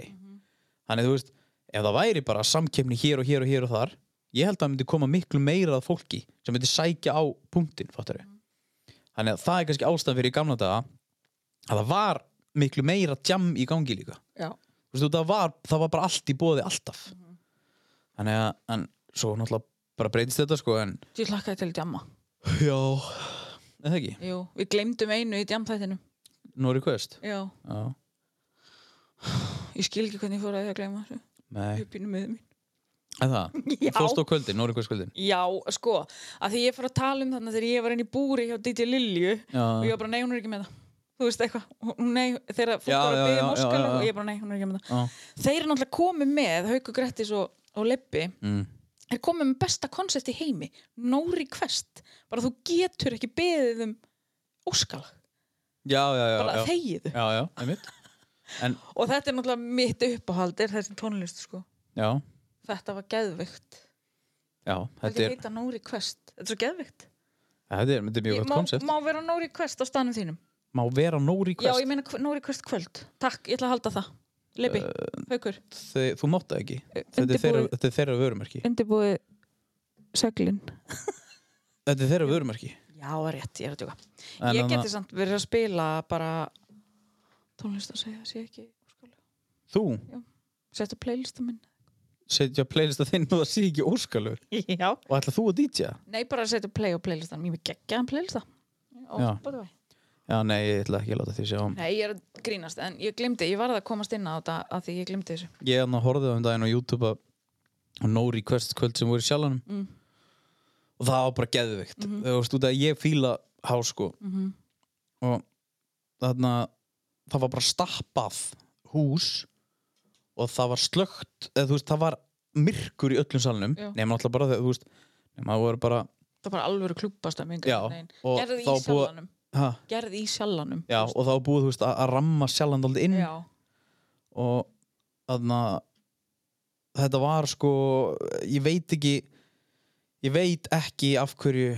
B: þannig þú veist, ef það væri bara samkemni hér og hér og hér og þar ég held að það myndi koma miklu meira að fólki sem myndi sækja á punktin, fattar þannig að það er kannski ástæðan fyrir í gamla daga að það var miklu meira jam í gangi líka
C: já,
B: Þú veist, það, var, það var bara allt í bóði alltaf þannig að en, svo náttúrulega bara breytist þetta sko en
C: ég hlakkaði til djamma
B: já, eða ekki,
C: Jú, við glemdum einu í djamþættinu
B: no request
C: Já,
B: já,
C: ég skil ekki hvernig ég fór að því að gleyma þessu
B: nei,
C: Ég pínum með mér
B: en það
C: Já.
B: fórst á kvöldin, no request kvöldin
C: Já, sko, að því ég fór að tala um þarna þegar ég var inn í búri hjá DJ Lilju
B: Já.
C: og ég var bara, nei, hún er ekki með það þú veist eitthvað, hún- nei, þegar fólk
B: Já,
C: var
B: já,
C: að
B: já,
C: byggja
B: já,
C: moskala
B: já, já.
C: og ég bara, nei, hún er ekki með það
B: já,
C: Þeir eru náttúrulega komið með, Hauku Grettis og, og Leppi
B: mm.
C: er komið með besta koncept í heimi no request, bara þú getur ekki beðið um óskala
B: já, já, já,
C: bara
B: já.
C: þegiðu
B: já, já, einmitt en,
C: og þetta er náttúrulega mitt uppáhald er þessi tónlist, sko
B: já,
C: þetta var geðvikt,
B: já,
C: þetta
B: þetta er
C: heita no request þetta er svo geðvikt
B: þetta er, þetta er mjög gott
C: má,
B: koncept
C: má vera no request á stanum þínum
B: má vera no
C: Já,
B: request
C: ég meina hv- Nóri Kvöld kvöld. Takk, ég ætla að halda það. Leipi, haukur.
B: Þe, þú mátt það ekki Uh, þetta er, þeirra,
C: undirbúið-
B: þetta er þeirra vörumarki
C: Undirbúið seglin.
B: þetta er þeirra vörumarki
C: Já, það er rétt, ég er að tjóka.
B: En
C: Ég
B: annað-
C: geti samt verið að spila bara tónlist að segja, sé ekki óskalega.
B: þú
C: Setta playlista minn.
B: setja playlista þinn og það sé ekki óskalur
C: Já.
B: og ætla þú að DJ-a?
C: Nei, bara setja play á playlistan. Mér er geggjaðan playlista. Ó,
B: Já.
C: by the way.
B: Já, nei, ég ætla ekki að láta því sjá
C: Nei, ég er að grínast, en ég glimti, ég varði að komast inn á þetta að því ég glimti þessu.
B: Ég hann horfði á um daginn á YouTube að á No Request kvöld sem voru í sjálfanum
C: Mm.
B: og það var bara geðvikt mm -hmm. þú veist út að ég fíla há sko
C: Mhm.
B: og þarna það var bara stappað hús og það var slögt eða þú veist, það var myrkur í öllum salnum
C: Já.
B: nema náttúrulega bara þegar þú veist nema það voru bara
C: Það var bara alvöru klúbast að minga.
B: Já, og
C: Gerði í
B: þá búið-
C: sjallanum.
B: ha,
C: Gerði í sjallanum.
B: já, og það var búið þú veist að, að ramma sjálfan aldrei inn
C: Já.
B: og þarna þetta var sko ég veit ekki ég veit ekki af hverju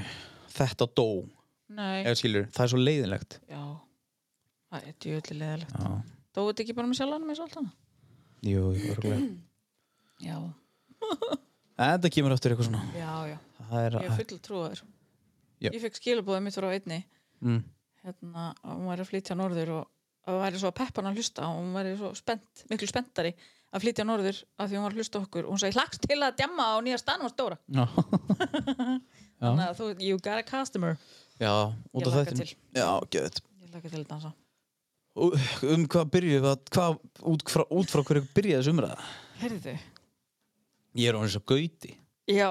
B: þetta dó,
C: Nei.
B: ef skilur það er svo leiðinlegt
C: Já, það er djöðlega leðilegt.
B: já,
C: Þú veit ekki bara með sjálfanum eins og allt hana?
B: jú, örugglega. en
C: Já,
B: þetta kemur aftur eitthvað svona
C: já, já.
B: það er,
C: Ég er full trúaður.
B: Já.
C: Ég fekk skilabóðið mitt frá einni,
B: mm,
C: hérna, að hún væri að flytja norður og að hún væri svo að peppa hann að hlusta og hún væri svo spennt, miklu spenntari að flytja norður að því hún var að hlusta á okkur og hún sagði hlagst til að djamma á nýja stanum og stóra.
B: já, Já.
C: Þannig að þú, you got a customer.
B: já út
C: Ég
B: af
C: hlakka
B: þetta
C: til.
B: já, geðið
C: Ég laka til að dansa.
B: um hvað byrjuð við að, hvað, út, frá, út frá hverju byrjaði þessu umræða
C: Herðu,
B: ég er á eins og gauti
C: já,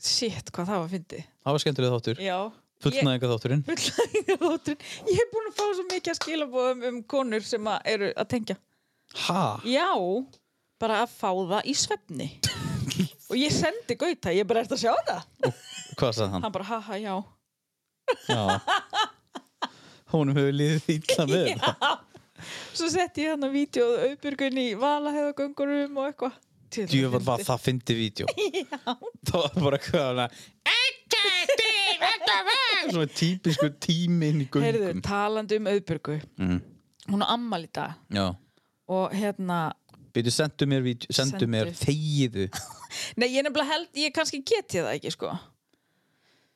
C: shit, hvað það var að fyndi.
B: það var skemmtilega þáttur,
C: Já. ég-
B: fullnæðinga þátturinn
C: fullnægingarþátturinn ég hef búin að fá svo mikið að skilabóðum um konur sem að eru að tengja
B: ha,
C: já, bara að fá það í svefni og ég sendi Gauta, ég bara ert að sjá það
B: hvað sagði hann?
C: hann bara haha já
B: Já Húnum hefur liðið ítla með þetta
C: svo setti ég hann að vídjóð auðbjörgun í valaheiðagöngurum og eitthvað Til að
B: Djöfald var
C: fyndi.
B: það fyndi vídeo Já Það var bara hvað hana Svona típisku tími inn í
C: Heyrðu,
B: gungum
C: talandi um auðbjörgu
B: Mhm.
C: hún á ammal í dag
B: Já
C: og hérna,
B: Býtu, sendu mér, vídeo, sendu
C: Sendu.
B: mér þegiðu
C: nei ég nefnilega held ég kannski geti það ekki sko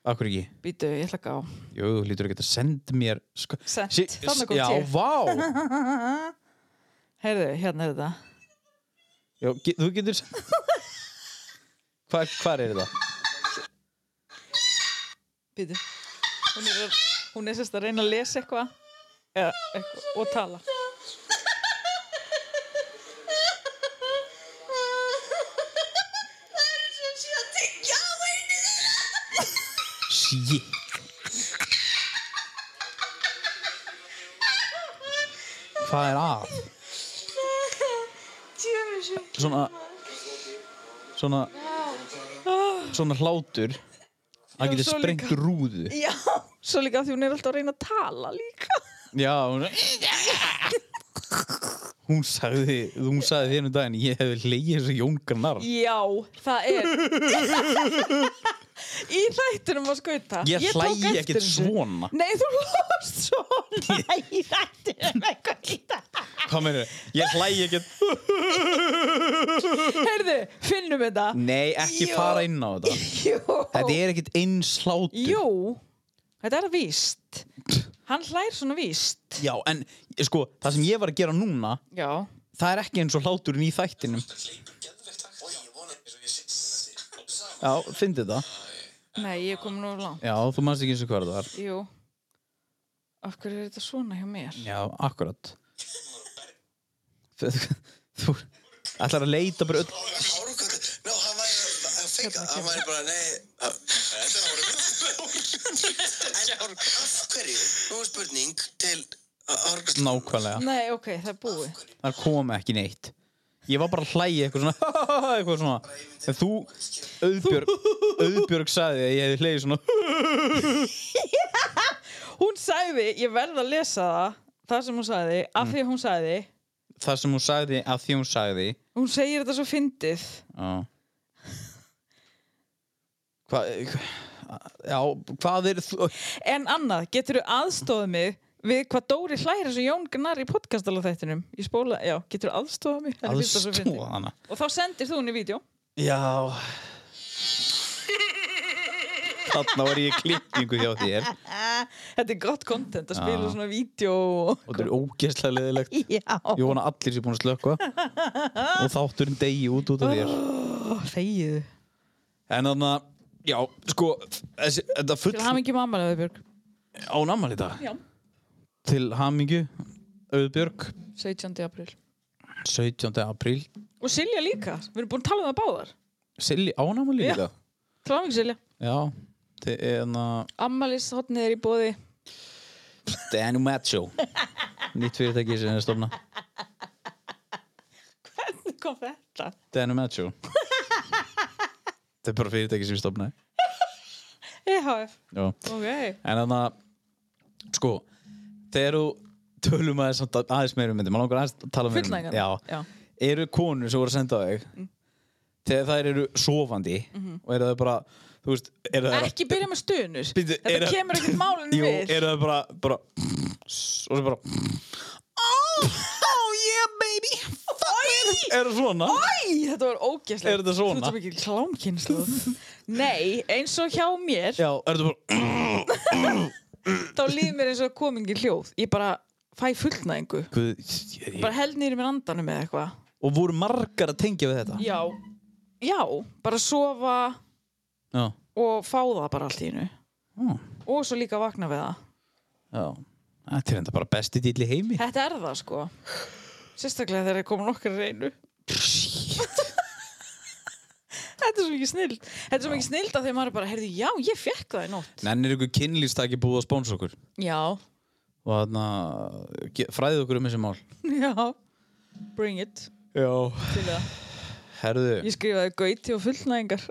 B: Akkur ekki
C: býtu, ég ætla ekki á
B: Jú, þú lítur ekki að senda mér sko.
C: Sent.
B: Sí-
C: Þarna kom
B: Já,
C: T.
B: vá
C: heyrðu, hérna er þetta
B: Já, ge- Þú getur send- Hvar, hvar er það?
C: Býtu. Hún er, að- hún er sérst að reyna að lesa eitthvað eitthva, og tala.
B: Shit Hvað er að? Svona Svona Svona hlátur Það getur
C: svo
B: sprengt
C: líka.
B: rúðu
C: Já, svo líka af því hún er alltaf að reyna að tala líka.
B: Já Hún, hún sagði Hún sagði þér um daginn Ég hef leið þessu jóngarnar
C: Já, það er. Í þættinum að skauta.
B: Ég
C: tók
B: hlægi
C: eftir
B: ekkert
C: þessu.
B: svona
C: Nei, þú hlóst svona.
E: Í þættinum eitthvað í dag.
B: Hvað meður Ég hlægi ekkert
C: Heyrðu, finnum þetta.
B: Nei, ekki
C: Jú.
B: fara inn á þetta
C: Jó.
B: Þetta er ekkert eins hlátur
C: Jú, þetta er víst. Hann hlær svona víst.
B: Já, en sko, það sem ég var að gera núna
C: Já.
B: það er ekki eins og hláturinn í þættinum Já, fyndi það
C: Nei, ég kom nú langt.
B: Já, þú manst ekki eins og hvað það var
C: Jú. Af hverju er þetta svona hjá mér?
B: Já, akkurat Þú ætlar að leita bara öll
F: Hárkvöldu, ná, hann væri að- að feika, hann væri bara, nei, að- þetta er hárkvöldu. En af hverju, nú er spurning til hárkvöldu.
B: nákvæmlega
C: Nei, ok, það er búið.
B: Það kom ekki neitt Ég var bara að hlæja eitthvað svona eitthvað svona En þú, Auðbjörg Auðbjörg sagði að ég hefði hlegið svona
C: Hún sagði, ég verð að lesa það, það sem hún sagði, af því hún sagði,
B: Það sem hún sagði að því hún sagði
C: hún segir þetta svo fyndið.
B: Já Hvað Já, hvað er þú
C: En annað, getur þú aðstofað mig við hvað Dóri hlær þessu Jón Gnar í podcastalatættinum? Ég spóla, já, getur þú aðstofað mig? Henni finnst það svo fyndið.
B: Aðstoða hana
C: Og þá sendir þú henni vídeo.
B: Já Þarna var ég í klippingu hjá þér Og
C: Þetta er gott content að spila
B: Já.
C: svona vídeo og...
B: þetta er ógeðslega leðilegt
C: Já.
B: Ég vona allir sér búin að slökka Og þátturinn degi út út af þér
C: Ó, þegiðu.
B: En þannig að, já, sko þessi, Þetta
C: Til
B: full
C: að hafa ekki mamma leðið, Björg.
B: án ammali dag
C: Já.
B: Til hamingju Auðbjörg
C: 17. april.
B: 17. apríl
C: Og Silja líka. Við erum búin að tala um það báðar.
B: Silli án ammali
C: Já.
B: líka
C: Til að hafa Silja.
B: Já, þetta er en að
C: Ammalis hotnið er í bóði.
B: Danu Macho Nýtt fyrirtæki sem er að stofna
C: Hvernig kom þetta?
B: Danu Macho Þetta er bara fyrirtæki sem ég stofnaði
C: EHF.
B: Já.
C: Ok.
B: En þannig að sko, þegar þú tölum aðeins, samt að- aðeins meirum myndi, maður langar aðeins að tala meirum
C: Fullnægan.
B: Já.
C: Já.
B: Eru konur sem voru að senda á þig
C: Mm.
B: þegar þær eru sofandi og eru þær bara, þú veist, eru þær
C: Mhm. Ekki byrja með stunus.
B: Bíddu,
C: Þetta
B: eru-
C: kemur ekkert málinu
B: Jú,
C: við.
B: eru þær bara, bara og svo bara Oh, oh yeah baby Oi. Er það svona?
C: Æ, þetta var ógæslega.
B: Er þetta svona?
C: Þú ert mikið klámkynslu. Nei, eins og hjá mér,
B: Já, er það bara
C: þá líður mér eins og komingi hljóð. Ég bara fæ fullnæðingu.
B: Guð, ég,
C: Bara held nýri mér andanum eða eitthvað.
B: Og voru margar að tengja við þetta
C: Já. Já, bara sofa
B: Já,
C: og fá það bara allt í hennu.
B: Ó,
C: Og svo líka vakna við það.
B: já. Þetta er enda bara besti dýl í heimi
C: Þetta er það sko. Sérstaklega þegar það komin okkar reynu. Þetta er svo mikið snild. Þetta er svo mikið snild að þegar maður er bara, heyrðu, já, ég fekk það í nótt.
B: Nennir ykkur kynlýstaki búið að spóns okkur
C: Já,
B: og þarna ge- fræðið okkur um þessi mál
C: já. Bring it
B: Já
C: til það.
B: Herðu,
C: Ég skrifaði gauti og fullnæðingar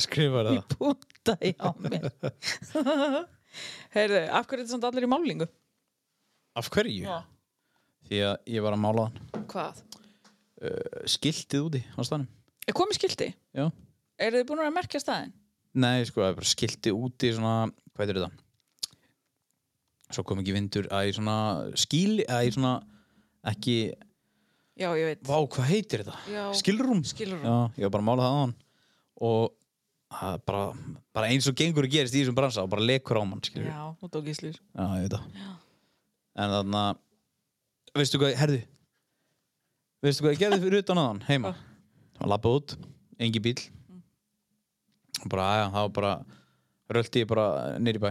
B: skrifar
C: í
B: það
C: búnda í á mér. Heyrðu, af hverju er þetta samt allir í málingu?
B: Af hverju? Því að ég var að mála hann
C: Hvað?
B: Uh, Skiltið úti á staðnum
C: Er komið skildi?
B: Já
C: Eru þið búin að vera að merkja staðinn?
B: Nei, sko, það er bara skiltið úti svona, hvað er þetta? Svo kom ekki vindur að í svona skíli, að í svona ekki,
C: Já, ég veit.
B: vá, hvað heitir þetta?
C: Já.
B: Skilrúm
C: Skilurðu?
B: Já, ég var bara að mála það á hann og það er bara, bara eins og gengur að gerist í þessum bransa og bara lekur á mann skilur.
C: Já, hún tók í slýr.
B: Já, ég veit það En þannig að Veistu hvað, herðu Veistu hvað ég gerði fyrir utan aðan heima
C: Mm.
B: Það var labbað út, engi bíl Og bara, aðja, það var bara röldi ég bara niður í bæ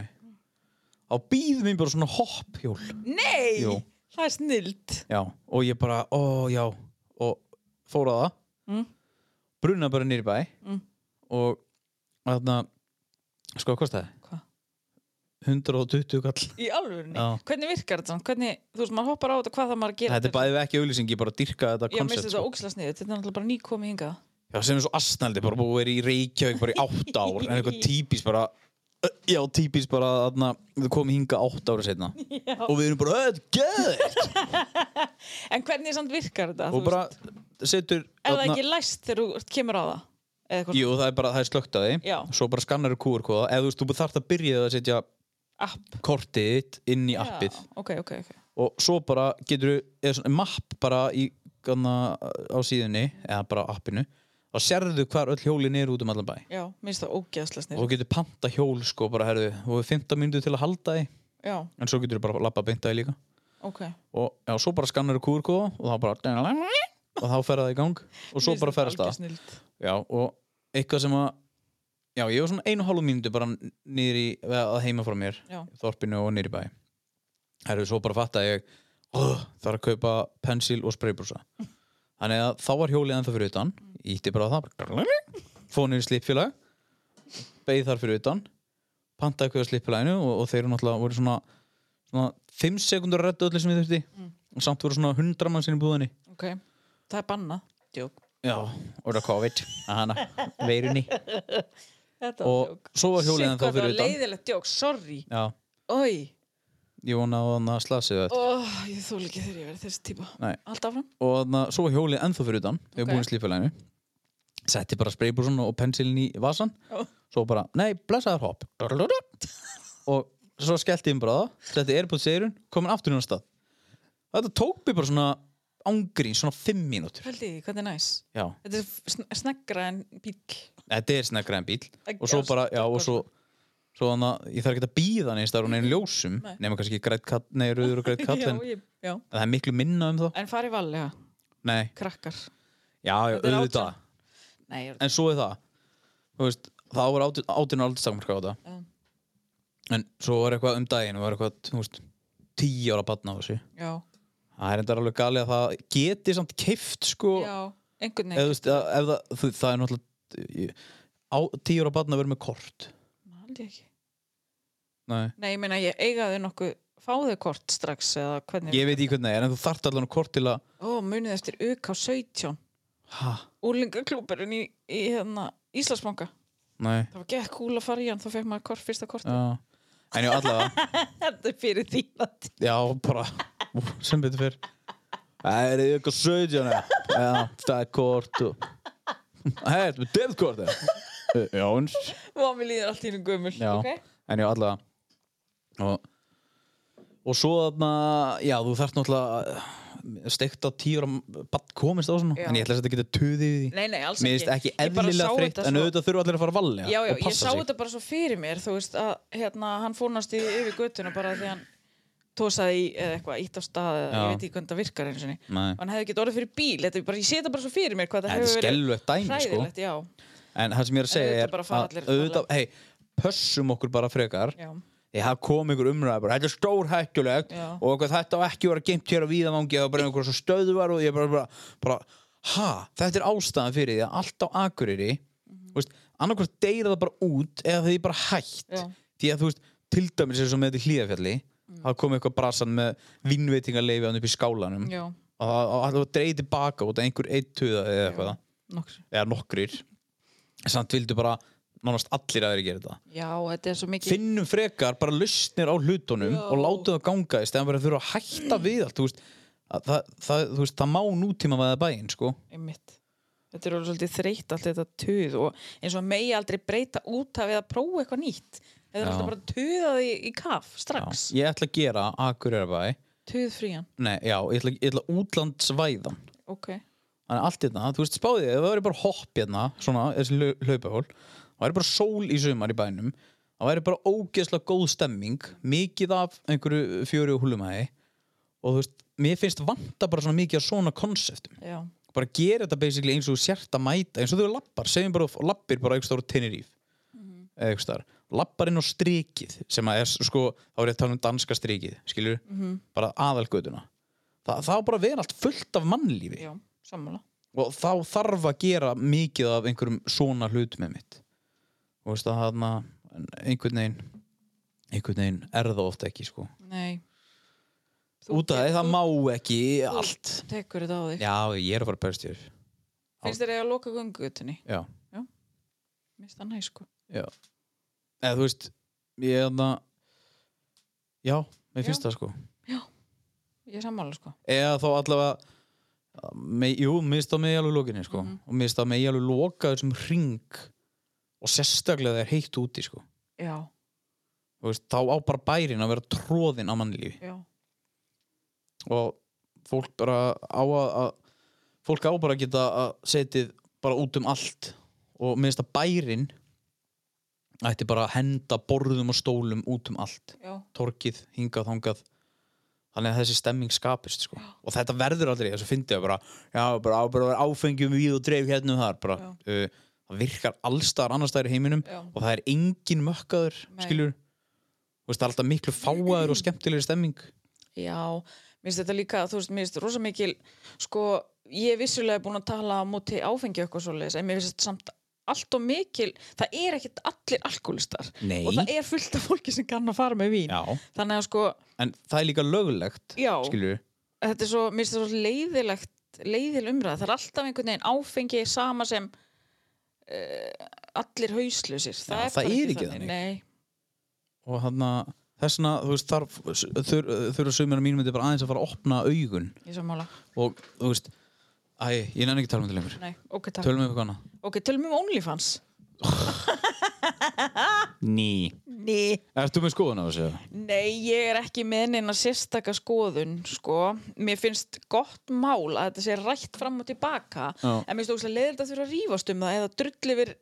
B: á býð mín bara svona hopphjól
C: Nei,
B: Jú.
C: það er snild
B: já, og ég bara, ó já og fór á það
C: Mm.
B: bruna bara niður í bæ
C: Mm.
B: og þarna sko, hvað kostaði?
C: Hvað?
B: 120 kall
C: Í alvörunni,
B: Já.
C: hvernig virkar þetta? svona? Hvernig, þú veist, maður hoppar á þetta hvað það maður að gera
B: þetta er bæðið ekki auðlýsing, ég bara dyrka þetta
C: Ég misti
B: koncept
C: þetta
B: sko.
C: óksla sniðut, þetta er náttúrulega bara nýkomið hingað
B: Já, sem er svo asnaldi, bara búið að vera í Reykjavík bara í átt ár, en eitthvað típist bara ö, Já, típist bara að við komum hinga átt ára setna og við erum bara, "Ö, þetta er geðið
C: En hvernig samt virkar þetta?
B: og
C: þú
B: bara
C: veist?
B: setur
C: Ef það
B: þarna-
C: ekki er læst þegar þú kemur á það Eða eitthvað
B: Jú, það er bara, það er slögt að því
C: Já.
B: svo bara skannar þú kúrkóða, eða þú veist, þú þarft að byrja að setja
C: app
B: kortið þitt inn í appið
C: Já, Ok, ok, ok
B: og svo bara getur þú, eða svona mapp bara í, gana, á síðunni eða bara á appinu og sérðu hvar öll hjólin er út um allan bæ
C: Já, minnst það ógeðsla
B: og þú
C: sniðut
B: getur panta hjól sko bara herðu og við 15 mínútur til að halda því
C: Já,
B: en svo getur þú bara lappa beint að því líka
C: ok
B: og já, svo bara skannar þú kúrkóða og þá bara og þá fer það í gang og svo bara ferast það
C: snild
B: já, og eitthvað sem að já, ég var svona einu og hálfu mínútu bara niður í, eða að heima frá mér
C: Já.
B: í þorpinu og niður í bæ herru, svo bara fatt að ég oh, þarf að kaupa pensil og spraybrúsa þannig að þá var hjólið ennþá fyrir utan ítti bara á það bara, fónir í slipfélag beigð þar fyrir utan pantaði hvað slipfélaginu og, og þeir eru náttúrulega voru svona, svona 5 sekundur að redda öllu sem ég þurfti og samt voru svona 100 mann sinni í búðinni
C: Ok, það er bannað Djók
B: já, og það COVID að hana, veirunni
C: Þetta var
B: og
C: djók
B: svo var hjólið ennþá
C: Sigga,
B: fyrir
C: það var
B: utan
C: leiðilegt djók, sorry
B: já,
C: Ói,
B: ég vona að hann slasið þetta
C: oh, ég þól ekki þegar ég verið þessi típa
B: Nei.
C: Allt áfram
B: og þannig að svo var hjólið ennþá fyrir utan við
C: Ok.
B: okay. búin slífélaginu setti bara spraybúrsun og pensilin í vasan
C: Já.
B: svo bara, nei, blessaðar hopp og svo skellti ég um bara á það setti airpods í eirun, komin aftur hún á stað þetta tók mér bara svona ángrín, svona 5 mínútur
C: Hældi því, hvernig er næs?
B: já,
C: Þetta er sn- snaggra en bíl
B: þetta er snakkaði en bíl
C: Ekki
B: og svo
C: alls
B: bara, já, og
C: tökur.
B: svo svo þannig að ég þarf ekki að býða neins þar og neginn ljósum,
C: Nei.
B: nema kannski grætt katt, nei, rauður og grætt katt en
C: Já, ég, já
B: það er miklu minna um það
C: En fari valega,
B: nei,
C: krakkar
B: já, já,
C: Þetta er
B: auðvitað
C: Nei, ég er
B: en svo er það þú veist, þá var átinn aldrei stakmarka á þetta
C: Já.
B: en svo var eitthvað um daginn og var eitthvað, þú veist, tíu ára batna á þessu
C: Já,
B: það er endar alveg galið að það geti samt keift sko,
C: já, einhvern
B: eða, þú
C: veginn
B: veist, að- ef það, þú, það er náttúrulega ég- á, tíu ára batna verður með kort
C: Haldi ekki
B: Nei.
C: Nei, ég meina, ég eiga þau nokkuð Fáðu kort strax eða hvernig
B: ég veit í hvernig það er, en þú þarft allan á kort til að
C: Ó, munið eftir UK 17
B: ha,
C: Úlingaklúburinn í, í hérna, Íslandsbanka
B: nei
C: Það var gekk kúl að fara í hann, þá fekk maður kort, fyrsta kort
B: já. en já, allavega,
C: Þetta er fyrir þína tíma
B: já, bara ú, sem betur fyrr Það er eitthvað 17 eða? Já, það er kort og... Hei, þetta er debtkort eða? Eh, Já, eins
C: Og mér líður allt í hennu gömul
B: Já,
C: ok?
B: en já, allavega og, og svo þarna já, þú þarft náttúrulega steikt á tíur að batt komist á svona
C: Já.
B: en ég ætla að þetta geta tuðið í því
C: Nei, nei, alls
B: Mér finnst ekki
C: Ég bara
B: eðlilega
C: sá
B: þreytt
C: þetta
B: en
C: svo-
B: auðvitað þurfa allir að fara að valja
C: Já, já,
B: og
C: ég sá
B: passa sig
C: þetta bara svo fyrir mér Þú veist að hérna, hann fórnast í yfir göttuna bara því hann tósaði í eða eitthvað, ítt á stað eða
B: Já.
C: ég veit ekki hvernig það virkar eins og
B: Nei.
C: hann hefði ekki orðið fyrir bíl, þetta er bara, ég sé þetta bara svo fyrir mér hvað það
B: Þetta er
C: hefur verið
B: skelfulegt dæmi, sko.
C: hræðilegt, já,
B: en það sem ég er að
C: En auðvitað
B: segja er
C: bara fara
B: að
C: allir að
B: auðvitað, hei, pössum okkur bara frekar
C: já,
B: ég haf kom ykkur umræði bara, þetta er stór hættulegt
C: Já.
B: og eitthvað, þetta á ekki vera geimt hér á víðavangi og bara einhver svo stöðvar og ég bara, bara, bara ha, þetta er ástæðan fyrir því að allt á akureyri
C: Mhm.
B: mm veist, annarkvært deyra það bara út eða því bara hætt
C: Já. Mm.
B: því að þú veist, til dæmis eins og með þetta í hlíðafjalli það kom eitthvað brasan með vinnveitingarleifi hann upp í skálanum
C: já,
B: og það og það var dreigð tilbaka út að einhver eitt tuða eða eitthvað,
C: nokkur
B: eða nokkrir samt vildu bara nánast allir aðeir gera þetta
C: Já, þetta er svo mikið
B: finnum frekar bara lausnir á hlutunum
C: Já.
B: og látum það ganga í stæðan verið að þurfa að hætta við allt þú veist, að, það, það, þú veist, það má nútíma með það bæinn sko.
C: einmitt. Þetta er alveg svolítið þreytt allt þetta tuð og eins og megi aldrei breyta út af eða prófa eitthvað nýtt Þetta er
B: Já.
C: alltaf bara tuðað í, í kaf
B: Já.
C: strax,
B: ég ætla að gera Akureyrabæ
C: tuðfrían
B: nei, já, ég ætla, ég ætla útlandsvæðan
C: Ok,
B: þannig að allt hérna, þú veist, spáðið ef það væri bara hopp hérna, svona, þessi lau- hlaupahól það væri bara sól í sumar í bænum það væri bara ógeðslega góð stemming mikið af einhverju fjöru og húlumæði og þú veist, mér finnst vanta bara svona mikið af svona konseptum
C: já,
B: bara gera þetta basically eins og þú sért að mæta eins og þú lappar, segjum bara lappir bara einhvers staðar á Tenerife eða einhvers staðar, lappar inn á strikið sem að er sko, þá er ég að tala um danska strikið skilur, bara aðalgötuna Þa, það á bara að vera allt fullt af mannlífi
C: já, sammála
B: og þá þarf að gera mikið af einhverjum svona hlut með mitt og veist að þarna einhvern veginn einhvern veginn er það ofta ekki sko
C: Nei,
B: út af því það má ekki allt
C: tekur þetta á þig
B: já ég er að fara að berst þér
C: Finnst þér eiga að loka gungutinni?
B: já,
C: Mér finnst það næ, sko
B: já eða þú veist ég er þarna já, mér finnst
C: Já.
B: það sko
C: Ég er sammála, sko
B: eða þá allavega með, jú, mista mig alveg lokinni sko. og mista mig alveg loka þessum ring og sérstaklega þegar heitt úti sko.
C: Já,
B: Þú veist, þá á bara bærin að vera tróðin á mannlífi
C: já,
B: og fólk bara á að, að fólk á bara að geta að setið bara út um allt og mista bærin ætti bara að henda borðum og stólum út um allt
C: já,
B: torkið, hingað, þangað þannig að þessi stemming skapist sko. og þetta verður aldrei, þess að fyndi að bara, já, bara, á- bara að vera áfengjum við og dreif hérna og þar bara, uh, það virkar allstaðar annars staðar í heiminum
C: Já.
B: og það er engin mökkaður
C: Nei.
B: skilur, þú veist, það er alltaf miklu fáaður og skemmtilegri stemming
C: já Mér finnst þetta líka, þú veist, mér finnst rosa mikil Sko, ég er vissulega búin að tala á móti áfengi og eitthvað svoleiðis en mér finnst þetta samt allt og mikil það er ekkert allir alkoholistar
B: Nei.
C: og það er fullt af fólki sem kann að fara með vín
B: já.
C: þannig að sko,
B: en það er líka löglegt
C: Já.
B: skilur,
C: þetta er svo, mér finnst það svo leiðilegt leiðil umræð, það er alltaf einhvern veginn áfengi sama sem uh, allir hauslusir
B: Já,
C: það, er,
B: það
C: bara
B: er ekki þannig.
C: Nei,
B: og hann að þessna, þú veist, þarf þur- þurfa sömur að mínum myndi bara aðeins að fara að opna augun
C: ég sammála
B: og, þú veist, æ, ég nenni ekki að tala um þetta lengur
C: Nei, ok, takk.
B: tölum við eitthvað annað
C: ok, tölum um OnlyFans
B: Ný
C: Nei.
B: Ertu með skoðun á þessu?
C: Nei, ég er ekki með neina sérstaka skoðun, sko. Mér finnst gott mál að þetta sé rætt fram og tilbaka,
B: Já.
C: en mér finnst ógæslega leiðilegt að þurfa að rífast um það eða drull yfir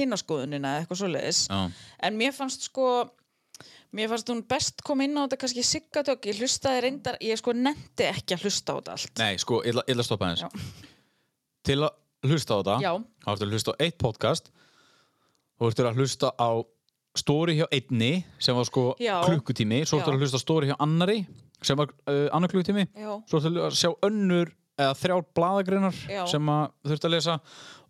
C: hinaskoðunina eða eitthvað svoleiðis.
B: Já.
C: En mér fannst sko, mér fannst hún best koma inn á þetta kannski siggatök, ég hlustaði reyndar, ég sko nefndi ekki að hlusta á þetta allt.
B: Nei, sko, ég ætla ég ætla að stoppa aðeins Til að hlusta á þetta
C: Já.
B: Þá ertu að hlusta á eitt podcast Þú ertu að hlusta á Story hjá einni sem var sko
C: Já.
B: klukkutími Svo ertu
C: Já.
B: að hlusta á story hjá annari sem var uh, annar klukkutími
C: Já.
B: Svo ertu að sjá önnur eða þrjár bladagreinar
C: Já.
B: sem að þurfti að lesa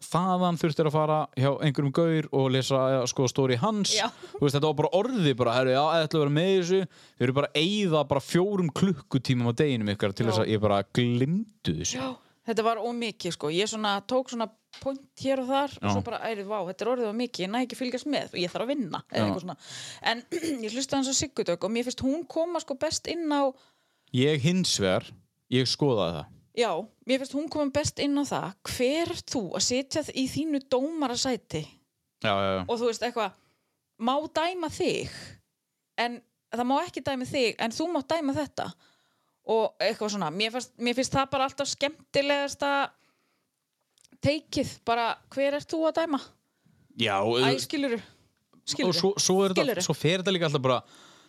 B: þaðan þurfti að fara hjá einhverjum gaur og lesa eh, sko stóri hans
C: Já.
B: Þú veist, þetta var bara orði bara, herru, já, þetta ætla að vera með í þessu þau eru bara að eyða bara fjórum klukkutímum á deginum ykkar til
C: Já.
B: þess að ég bara glimtu þessu
C: Já, þetta var ómikið sko ég svona tók svona point hér og þar og
B: Já.
C: svo bara, æri, vá, þetta er orðið ómikið ég næ ekki að fylgjast með, ég þarf að vinna
B: Já.
C: eða eitthvað svona. en ég hlusta hans á Siggutök og mér finnst hún koma sko best inn á
B: ég hins vegar, ég skoðaði það
C: já, mér finnst hún koma best inn á það hver ert þú að sitja í þínu dómarasæti
B: já, já, já.
C: og þú veist eitthvað má dæma þig en það má ekki dæma þig en þú má dæma þetta og eitthvað svona, mér finnst, mér finnst það bara alltaf skemmtilegasta teikið, bara hver ert þú að dæma?
B: já
C: Æ,
B: og-
C: skiluru
B: Uh,
C: skiluru,
B: og svo, svo, er
C: Skilurðu?
B: þetta, svo fer þetta líka alltaf bara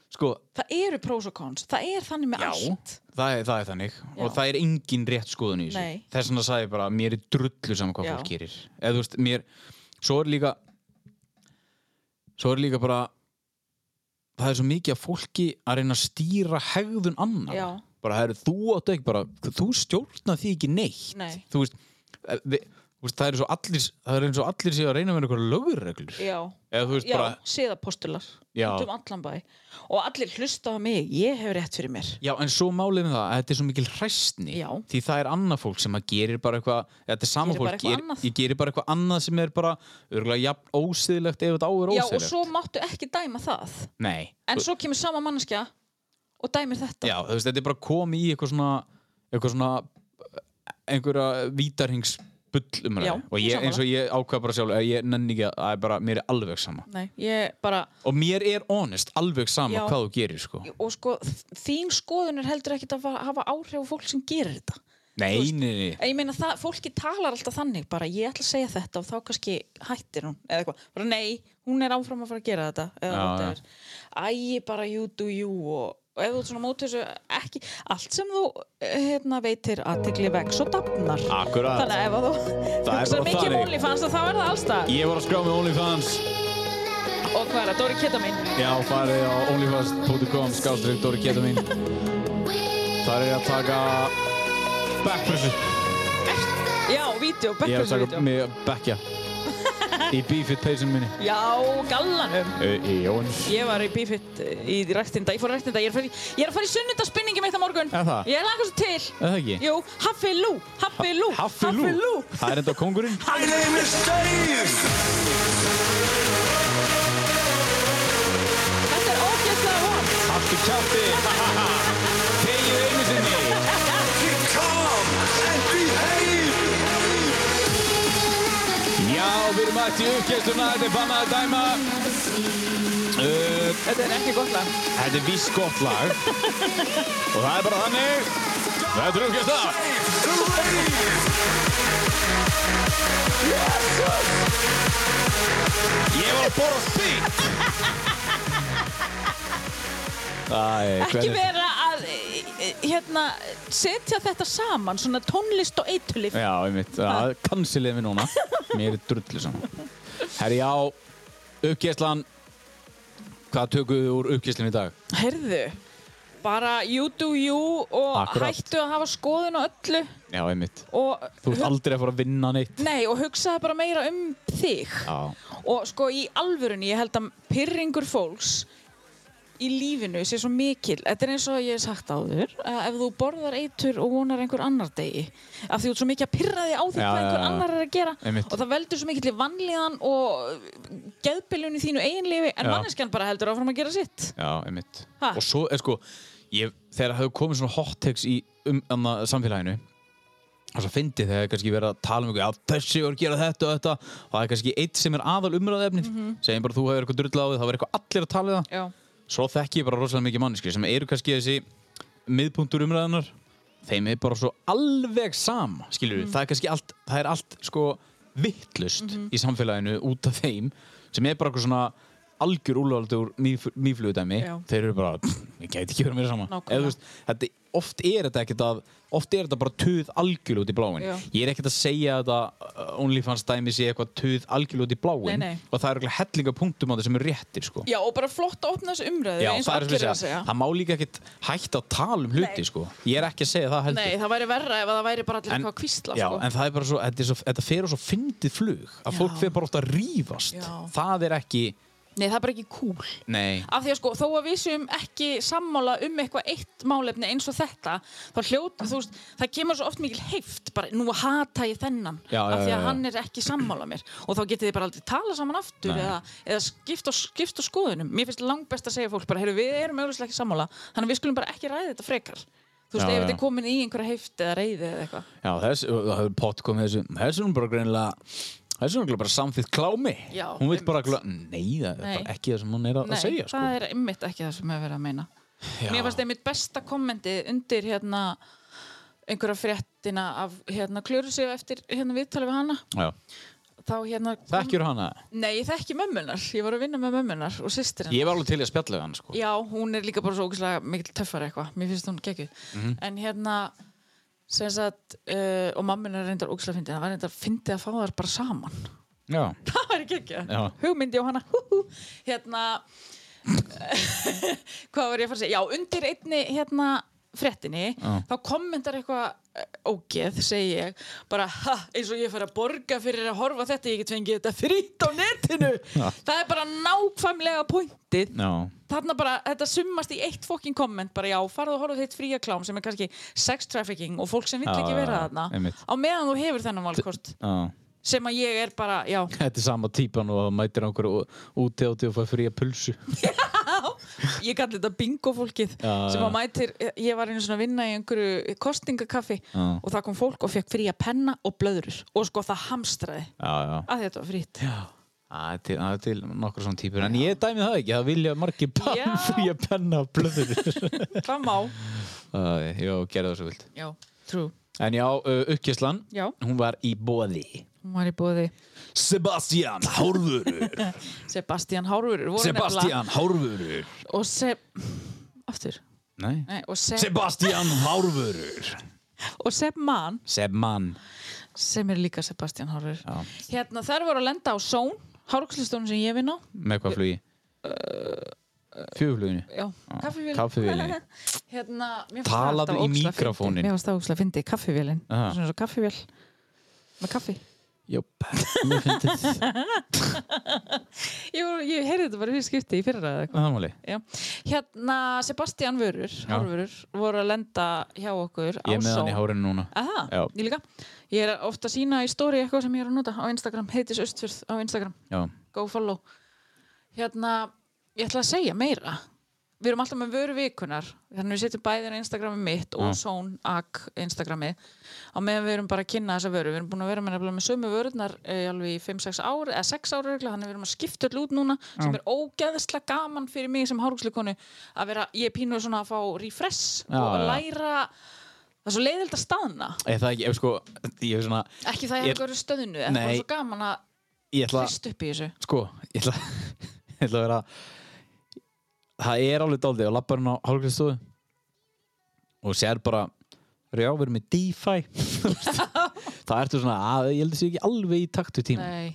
B: sko,
C: það eru pros og cons það er þannig með
B: Já.
C: allt
B: það er, það er þannig
C: Já.
B: og það er engin rétt skoðun í
C: Nei.
B: þessu þess vegna sagði ég bara, mér er drullu saman hvað
C: Já.
B: fólk gerir eða þú veist, mér svo er líka svo er líka bara það er svo mikið að fólki að reyna að stýra hegðun annar
C: Já.
B: bara það eru þú átt ekki bara þú stjórna því ekki neitt
C: Nei.
B: þú veist, eh, við, þú veist það er, svo allir, það er eins og allir séu að reyna með einhverja lögurreglur
C: já,
B: eða þú veist
C: já
B: bara
C: síðapostular
B: Já.
C: út um allan bæ og allir hlusta á mig, ég hef rétt fyrir mér
B: Já, en svo málið með það að þetta er svo mikil hræstni
C: Já.
B: því það er annað fólk sem að gerir bara eitthvað þetta er sama
C: Gerir bara
B: fólk,
C: eitthvað
B: gerir-
C: annað.
B: ég gerir bara eitthvað annað sem er bara örgulega jafn ósiðlegt ef þetta áður
C: já,
B: ósiðlegt
C: og svo máttu ekki dæma það
B: Nei,
C: en
B: þú-
C: svo kemur sama manneskja og dæmir þetta
B: já, þú veist, þetta er bara komið í eitthvað svona eitthvað svona einhverja vítarhings
C: Já,
B: og ég,
C: sammála.
B: eins og ég ákvað bara sjálf að ég nenni ekki að það er bara, mér er alveg sama
C: Nei, ég bara,
B: og mér er honest alveg sama
C: Já.
B: hvað þú gerir sko
C: og sko, þín skoðun er heldur ekkit að fa- hafa áhrif á fólk sem gerir þetta.
B: Nei,
C: veist,
B: nei, nei,
C: En ég meina það, fólki talar alltaf þannig, bara ég ætla að segja þetta og þá kannski hættir hún, eða eitthvað. Bara nei, hún er áfram að fara að gera þetta, eða
B: Já,
C: whatever. Æ, bara you do you og, og ef þú ert svona mótið þessu, ekki, allt sem þú, eh, hérna, veitir aðtegli veg, svo dafnar.
B: Akkurat.
C: Þannig að ef að þú
B: Ah. bara
C: hugsar mikið um
B: þannig.
C: múli fannst þá er það allstað.
B: Ég var að skrá með OnlyFans
C: Og hvað er það? Dóri Keta minn.
B: Já, farið á onlyfast.com skástrygg Dóri Keta mín Þar er ég að taka backpressu
C: Já, vídeo,
B: Ég er að taka
C: backpressu-vídeó.
B: mig backja Í bífitt peysunum minni
C: Já, gallanum.
B: Í Jóns
C: Ég var í bífitt í rættinda, ég fór í rættinda, ég er að fara í, ég er að fara í sunnudaspinningi mitt á morgun.
B: Er það?
C: Ég laka svo til.
B: Er það ekki?
C: Jú, Haffi Lú, Haffi Lú,
B: Haffi Lú Það er enda kongurinn
G: My name is Dave
C: Þetta er ógeðslega von.
B: Haffi kjátti Tegið einu sinni
G: Come and behave
B: Já, við erum mætt í uppgjastuna Þetta er bannað að dæma uh,
C: Þetta er ekki gott lag.
B: Þetta er víst gott lag Og það er bara þannig Þetta er uppgjastuna Ég var að borða spýt Æ,
C: Ekki vera að, e, e, hérna, setja þetta saman, svona tónlist og eitulif.
B: Já, einmitt, það kansilið mér núna Mér er drullu saman Herri, já, uppgæslan Hvað tökum við úr uppgæslinni í dag?
C: Herðu, bara you do you og
B: Akkurat.
C: hættu að hafa skoðun á öllu
B: Já, einmitt
C: og,
B: Þú ert aldrei að fara að vinna neitt
C: nei, og hugsaðu bara meira um þig.
B: Já,
C: Og sko í alvörunni, ég held að pyrringur fólks í lífinu sé svo mikil. Þetta er eins og ég hef sagt áður, að ef þú borðar eitur og vonar einhver annar degi, af því þú ert svo mikið að pyrra þig á því
B: Já,
C: hvað
B: já,
C: einhver
B: já.
C: annar er að gera
B: Einmitt.
C: og það veldur svo mikill í vannlíðan og geðbiljun í þínu eiginlifi en
B: Já.
C: manneskjan bara heldur áfram að gera sitt.
B: já, einmitt
C: Ha?
B: Og svo, er, sko, ég, þegar það hefur komið svona hot takes í um, um, samfélaginu og svo fyndi þegar er kannski verið að tala um eitthvað, já þessi voru að gera þetta og þetta og það er kannski eitt sem er aðal umræðaefnið segjum bara þú hefur eitthvað drull á því, það verður eitthvað allir að tala um það
C: Já,
B: svo þekki ég bara rosalega mikið manneski sem eru kannski þessi miðpunktur umræðanar þeim er bara svo alveg sama skilur
C: Mm.
B: það er kannski allt það er allt sko vittlust
C: Mhm.
B: í samfélaginu út af þeim sem er bara eitthvað svona algjör úlvaldur nýflugudæmi
C: Já.
B: þeir eru bara, pff, ég gæti ekki verið mér sama
C: Nákvæmlega.
B: Eða, þú veist, þetta, oft er þetta ekkert að oft er þetta bara töð algjör út í bláin
C: Já.
B: ég er ekkert að segja að þetta uh, OnlyFans dæmi sé eitthvað töð algjör út í bláin
C: Nei, nei.
B: og það eru eitthvað hellinga punktum á þetta sem er réttir sko.
C: já og bara flott að opna þessu umræðu
B: Já,
C: eins og
B: það er sem
C: allir eru
B: ég
C: að segja.
B: Það má líka ekkert hægt að tala um hluti, sko. Ég er ekki að segja það heldur.
C: Nei, það væri verra ef að það væri bara allir
B: En-
C: eitthvað að kvísla,
B: Já,
C: sko.
B: en það er bara svo, þetta, er svo, þetta fer á svo fyndið flug að
C: Já.
B: fólk fer bara ofta að rífast.
C: Já.
B: Það er ekki,
C: Nei, það er bara ekki cool.
B: nei,
C: af því að sko, þó að við séum ekki sammála um eitthvað eitt málefni eins og þetta, þá hljóta, þú veist, það kemur svo oft mikil heift, bara nú hata ég þennan,
B: Já, já,
C: af því
B: já,
C: að
B: já.
C: hann er ekki sammála mér og þá getið þið bara aldrei tala saman aftur
B: Nei.
C: eða, eða skipta, á- skipta á skoðunum mér finnst langbest að segja fólk bara, heyrðu, við erum auðvitað ekki sammála, þannig að við skulum bara ekki ræða þetta frekar, þú veist,
B: Já,
C: ef
B: já,
C: þetta
B: já.
C: er komin í einhverja heift eða reyði eða eitthvað
B: já, þess, það hefur pott komið þessu, þessu er hún bara greinilega, þessu er hún bara samþýtt klámi.
C: Já,
B: hún vil bara,
C: einmitt.
B: glö- nei, það er
C: Nei.
B: bara ekki það sem hún er að,
C: Nei,
B: að segja, sko.
C: það er einmitt ekki það sem hefur verið að meina
B: Já.
C: Mér fannst einmitt besta kommenti undir hérna einhverja fréttina af hérna klöru sig eftir hérna viðtalið við hana
B: Já,
C: þá hérna
B: þekkjur hana.
C: Nei, ég þekki mömmunar, ég var að vinna með mömmunar og sýstir hennar
B: Ég var alveg til í að spjalla við hana, sko.
C: Já, hún er líka bara svo ógæslega mikil töffari eitthvað, mér finnst hún gekkið
B: Mhm.
C: en hérna sem sagt, uh, og mammunar reyndar ógæslega fyndið, það var reyndar fyndið að fá þær bara saman
B: Já,
C: það væri gekkja
B: Já.
C: hugmyndi á hana hérna hvað var ég að fara að segja já, undir einni hérna fréttinni,
B: Já.
C: þá kommentar eitthvað eh, ógeð, segi ég bara, ha, eins og ég fær að borga fyrir að horfa á þetta, ég get fengið þetta frýtt á netinu
B: Já.
C: það er bara nákvæmlega pointið
B: já,
C: þarna bara, þetta summast í eitt fokkin komment bara já, farðu og horfa á þitt fría klám sem er kannski sex trafficking og fólk sem vill
B: Já,
C: ekki
B: já,
C: vera þarna
B: einmitt.
C: á meðan þú hefur þennan valkost
B: já.
C: sem að ég er bara, já,
B: Þetta er sama típan og mætir á einhverju úti átti og fær fría pulsu.
C: ég kalli þetta bingo fólkið
B: Já,
C: sem
B: já.
C: að mætir, ég var einu svona að vinna í einhverju kostingakaffi
B: Já.
C: og það kom fólk og fekk fría penna og blöðrur og sko það hamstraði
B: Já, já.
C: að þetta var frýtt
B: Það er til, það er til nokkur svona típur, en ég dæmi það ekki, það vilja margir bann frí að penna og blöður.
C: það má,
B: Æ, já, gerðu það svo vilt.
C: já, trú
B: En já, uh, Ukkislan,
C: Já.
B: hún var í boði.
C: hún var í bóði
B: Sebastian Hárvörur,
C: Sebastian Hárurur voru nefnilega-
B: Sebastian Hárvörur.
C: og se... aftur
B: Nei.
C: Nei, og, se...
B: Sebastian Hárvörur.
C: og Seb Mann
B: Sebmann.
C: sem er líka Sebastian Hárurur
B: Já.
C: hérna þær voru að lenda á Són Hárgslustofnum sem ég vinn á
B: Með hvað flugi? Fjögfluginu
C: Já, kaffivél
B: kaffivélinni.
C: Hérna, mér fannst
B: Ah, Talaðu
C: það alltaf
B: í
C: ógeðslega
B: míkrófóninn.
C: fyndið. Mér fannst það ógslag fyndi, kaffivélin
B: Aha.
C: Svona svo kaffivél Með kaffi
B: Jóp, mér finnst þetta
C: Ég, var- ég heyrði þetta bara fyrir skipti í fyrra eða eitthvað.
B: Þannig
C: Já. Hérna, Sebastian Vörur, Hárvörur, voru að lenda hjá okkur
B: Ég er með hann í
C: Ásó. Ah.
B: hárinu núna
C: Aha,
B: Já.
C: ég líka. Ég er ofta að sína í stóri eitthvað sem ég er að nota á Instagram, heitis Östfjörð á Instagram,
B: Já,
C: go follow. Hérna, ég ætla að segja meira. Við erum alltaf með vöru vikunar, þannig við setjum bæðin Instagrami mitt og Són Ak Instagrami á meðan við erum bara að kynna þessa vöru. Við erum búin að vera með, nefnilega með sömu vörunar eh, alveg í 5-6 ár, eða 6 ár regla, þannig við erum að skipta öll út núna sem er ógeðslega gaman fyrir mig sem hárgslukonu að vera, ég er pínu svona að fá refresh
B: Já,
C: og að
B: já.
C: læra, það er svo leiðild að staðna.
B: eða það ekki, ef sko Ég er svona,
C: Ekki það
B: Ég-
C: hefur ekki verið stöðnu, en það
B: Nei.
C: er svo gaman að
B: ég ætla
C: hrist upp í þessu.
B: Sko, ég ætla Ég ætla að vera Það er alveg dálítið og lappar hann á hálfgriðstofu og sér bara Já, við erum með DeFi Það ertu svona, að, ég held að sé ekki alveg í taktu tíma
C: Nei,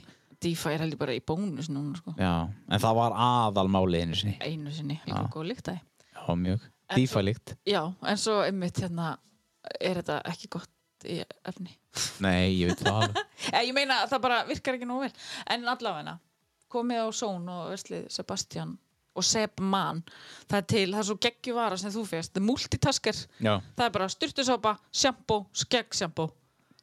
C: DeFi er heldur bara í bónus núna, sko.
B: Já, en það var aðalmálið einu sinni
C: Einu sinni, líka góð líkt að
B: Já, mjög, DeFi líkt
C: Já, en svo einmitt hérna er þetta ekki gott í efni.
B: Nei, ég veit það alveg.
C: Eh, ég meina það bara virkar ekki nógu vel. En allavegna, komið á Són og verslið Sebastian og Sebman. Það er til, það er svo geggjuvara sem þú fyrst. Það er multitasker.
B: Já,
C: Það er bara styrtusápa, sjampó, skeggsjampó.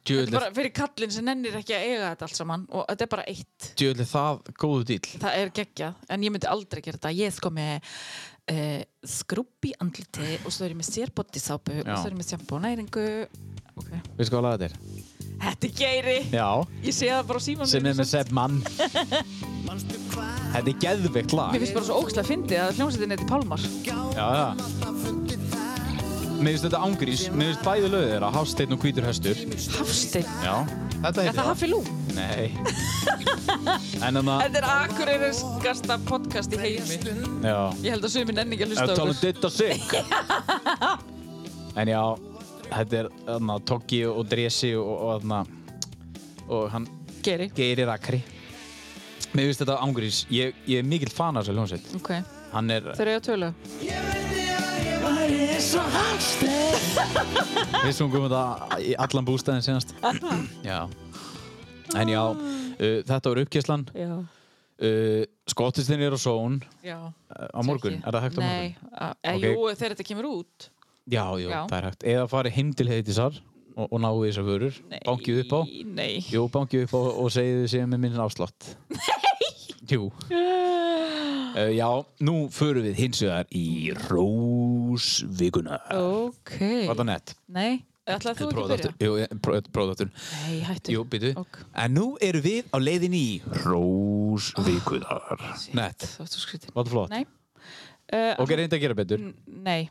C: Þetta er
B: djöðlega
C: bara fyrir kallinn sem nennir ekki að eiga þetta allt saman og þetta er bara eitt.
B: djöðlega það góðu dýl
C: Það er geggjað, en ég myndi aldrei gera þetta. Ég er sko með uh, skrúpp í andliti og svo er ég með sérbottisápu og
B: Já.
C: svo er ég með sjampo og næringu. Ok.
B: Veistu hvað laga þetta er?
C: Þetta er geiri.
B: Já,
C: Ég sé það bara á símanum.
B: sem er með Sepp Mann Þetta er geðveikt lag
C: Mér finnst bara svo ógslag fyndið að hljómsveitin heiti Pálmar.
B: Já, já. Mér finnst þetta ángrís, mér finnst bæði löðu þeirra, Hafsteinn og Hvítur Hestur.
C: Hafstein.
B: Já, þetta
C: Er
B: heitir
C: það Hafi Lú?
B: Nei. en hérna, þannig að,
C: Þetta er akureyriskasta podcast í heimi.
B: já,
C: Ég held að sumir nenni ekki að
B: ef
C: hlusta á
B: tala um
C: okkur.
B: ditt og sig. en já, þetta er þarna Toggi og Dresi og, og þarna, og hann
C: Geiri.
B: Geiri Akri. Mér finnst þetta ángrís, ég, ég er mikill fan af þessu hljómsveit.
C: Ok.
B: Hann er,
C: Þeir eru að tölu.
B: Við sungum þetta í allan bústæðin senast Já En já, uh, þetta var uppkjæslan
C: Ah. Já.
B: uh, Skottistinn er á són
C: Já.
B: á morgun, er það hægt á morgun?
C: Nei. a- eh,
B: Ok.
C: Jú, þegar þetta kemur út.
B: Já, jú,
C: Já.
B: það er hægt Eða farið heim til heitisar og, og náðu þessar vörur Bankið upp á
C: Nei.
B: Jú, bankið upp á og segið þið séð með minn afslátt Nei Jú
C: Ah.
B: uh, Já, nú förum við hins vegar í Rósvikuna
C: Ok.
B: Var það nett?
C: Nei, ætlaði þú ekki að byrja?
B: Próðáttur Jú, próðáttur
C: Nei, hættu.
B: Jú, býtu.
C: Ok.
B: En nú eru við á leiðinni í Rósvíkuðar. Nett.
C: Það var svo skrítið.
B: Var það flott?
C: Nei. Mm, Uh,
B: Ok, reynda að gera betur.
C: Nei.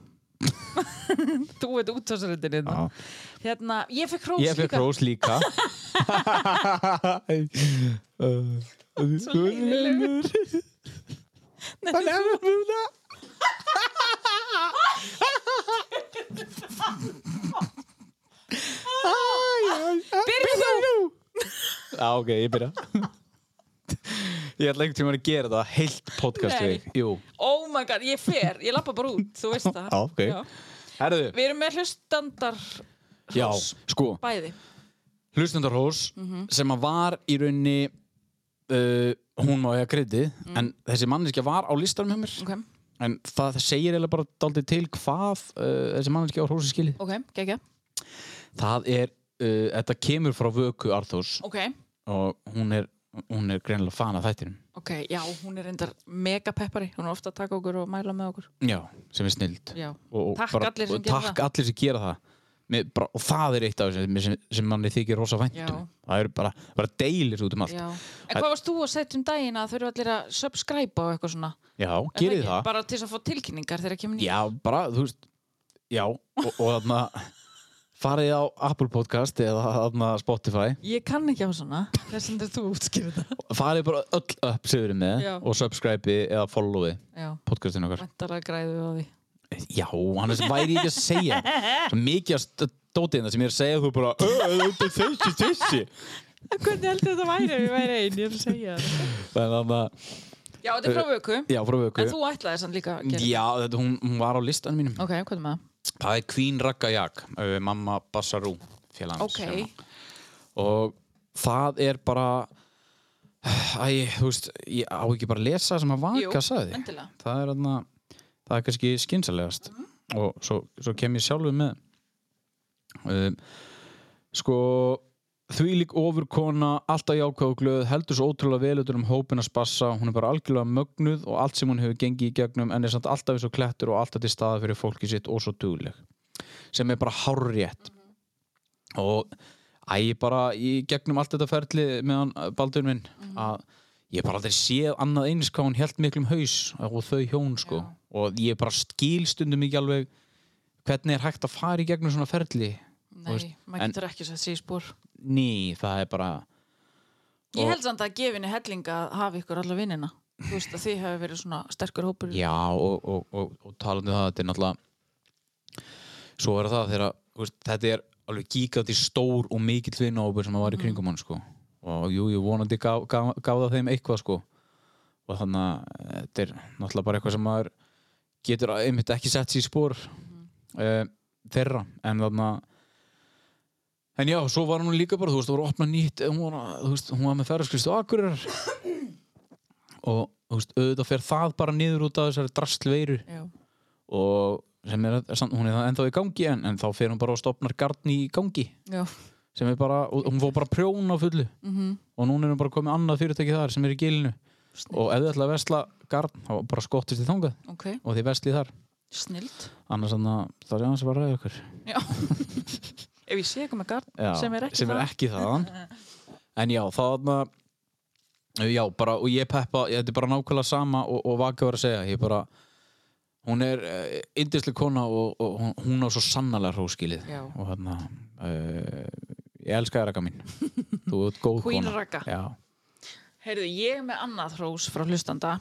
C: þú veit út þessaritin hérna. Hérna, ég fekk hrós
B: Ég fekk
C: líka.
B: Rós líka. Svo leiðinlegur. Hann er með múna.
C: Byrja þú!
B: Já, ok, ég byrja. Ég ætla einhvern tímann að gera það heilt podcast
C: Nei.
B: við. Jú.
C: Oh my god, ég fer, ég lappa bara út, þú veist það.
B: Já, ok. Herðu,
C: Við erum með hlustandar
B: já, sko.
C: bæði.
B: Hlustundar Hós sem að var í rauninni uh, hún má ég að kredi
C: Mm.
B: en þessi manneskja var á listanum hjá mér
C: Ok,
B: en það segir eiginlega bara daldið til hvað uh, þessi manneskja á Hósi skilið
C: ok, gegja.
B: það er, uh, þetta kemur frá Vöku Arþós
C: Ok,
B: og hún er, hún er greinilega fan af þættinum
C: ok, já, hún er endar mega peppari, hún er ofta að taka okkur og mæla með okkur.
B: já, sem er snild
C: Já,
B: og, og
C: Takk
B: bara,
C: allir sem
B: og
C: gera
B: takk
C: það.
B: allir sem gera það Mér bara, og það er eitt af þessu sem, sem, sem manni þykir rosa
C: Já.
B: væntum það eru bara, bara deilir út um allt
C: já. En hvað varst þú að setja um daginn að þau eru allir að subscribe á eitthvað svona?
B: já
C: Er
B: gerið
C: ekki?
B: það
C: Bara til þess að fá tilkynningar þegar kemur nýtt.
B: Já, bara, þú veist Já, og, og þarna farið á Apple Podcast eða þarna Spotify
C: Ég kann ekki á svona, þess að þú útskýrðu það.
B: farið bara öll upp sigur með
C: Já.
B: og subscribe eða followi
C: Já,
B: podcastinu okkar
C: vantar að græðu á því.
B: Já, annars væri ég ekki að segja Svo mikið að dótiðina sem ég er að segja þú bara "Ö, þetta er þessi, þessi
C: Hvernig heldur þetta væri ef ég væri einn, ég er að segja það.
B: Þannig að,
C: Já, þetta er frá vöku.
B: já, frá vöku.
C: En þú ætlaði sann líka að gera.
B: Já, þetta, hún, hún var á listanum mínum.
C: Ok, hvað er maður?
B: Það er Queen Ragga Jak, uh, mamma Bassarú, félagans.
C: Ok.
B: Og það er bara, æ, þú veist, ég á ekki bara að lesa það sem að
C: Jú,
B: vaka sagði.
C: endilega.
B: Það er, anna, það er kannski skynsalegast. Og svo, svo kem ég sjálfur með, um, sko, þvílík ofurkona, alltaf jákvæð og glöð, heldur svo ótrúlega velutur um hópin að spassa, hún er bara algjörlega mögnuð og allt sem hún hefur gengið í gegnum en er samt alltaf eins og klettur og alltaf til staða fyrir fólki sitt og svo dugleg sem er bara hárrétt og að ég bara í gegnum allt þetta ferli meðan eh, Baldur minn að ég bara aldrei séð annað eins hvað hún held miklum haus og þau hjón sko og ég bara skil stundum ekki alveg hvernig er hægt að fara í gegnum svona ferli Þú
C: Nei,
B: veist,
C: maður
B: en-
C: getur ekki sett sér í spór.
B: ný, það er bara
C: Ég held samt að gefinni hellinga að hafa ykkur alla vinnina. Þú veist að þið hefur verið svona sterkur hópur.
B: Já, og, og, og, og talandi um það, þetta er náttúrulega svo er það þegar að, þú veist, þetta er alveg gíkandi stór og mikill vinahópur sem að var í kringum hann sko. og jú, ég vonandi gaf, gaf, gaf það þeim eitthvað sko. og þannig að þetta er náttúrulega bara eitthvað sem maður getur að- einmitt ekki sett sér í spór uh, þeirra en þannig að En já, svo var hún líka bara, þú veist, þú voru að opna nýtt, hún var, að- þú veist, hún var með ferðarskristu Akureyrar og þú veist, auðvitað fer það bara niður út af þessari drastlveiru
C: Já.
B: og sem er, er samt, hún er það ennþá í gangi en, en þá fer hún bara og stopnar garn í gangi
C: Já.
B: sem er bara, og hún fór bara prjón á fullu -hmm. og núna er hún bara komið annað fyrirtæki þar sem er í gilinu og ef þið ætla að vesla garn þá bara skottist þið þangað
C: Ok,
B: og þið veslið þar
C: snild.
B: annars þannig að það er annars að bara ræða ykkur
C: Já. Ef ég sé eitthvað með garð
B: já,
C: sem er ekki
B: sem er
C: það.
B: ekki þaðan en já, þarna já, bara, og ég peppa ég, þetta er bara nákvæmlega sama og, og vaka var að segja ég bara, hún er eh, yndisleg kona og, og hún- hún á svo sannarlega hróskilið
C: Já.
B: og þarna uh, ég elska þér, Ragga mín þú ert góð
C: Queen
B: kona
C: Ragga.
B: já,
C: Heyrðu, ég er með annað hrós frá hlustanda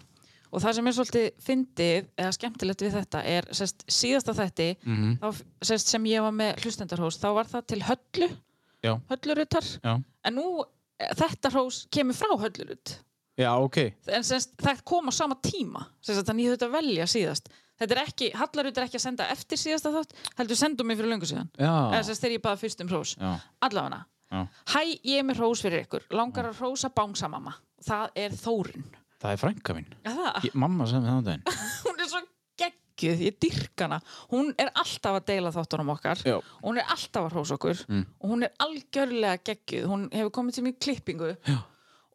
C: og það sem er svolítið fyndið eða skemmtilegt við þetta er sest, síðasta þetti
B: Mhm.
C: þá, sest, sem ég var með hlustendarhrós þá var það til höllu,
B: já,
C: hölluruttar
B: já,
C: en nú eh, þetta hrós kemur frá höllurutt
B: já, ok
C: en sest, það kom á sama tíma sest, þannig ég þetta velja síðast þetta er ekki, hallarut er ekki að senda eftir síðasta þátt heldur sendu mig fyrir löngu síðan eða
B: já,
C: sest, þegar ég baða fyrst um hrós
B: já,
C: allafana,
B: já.
C: hæ ég er með hrós fyrir ykkur langar að hrósa bangsamamma það er Þórun
B: það er frænka mín
C: Já, það,
B: ég, mamma sem við þannig daginn
C: hún er svo geggjuð, ég dyrk hana hún er alltaf að deila þáttunum okkar
B: Já. Mm.
C: hún er alltaf að hrósa okkur og hún er algjörlega geggjuð hún hefur komið til mér í klippingu Já.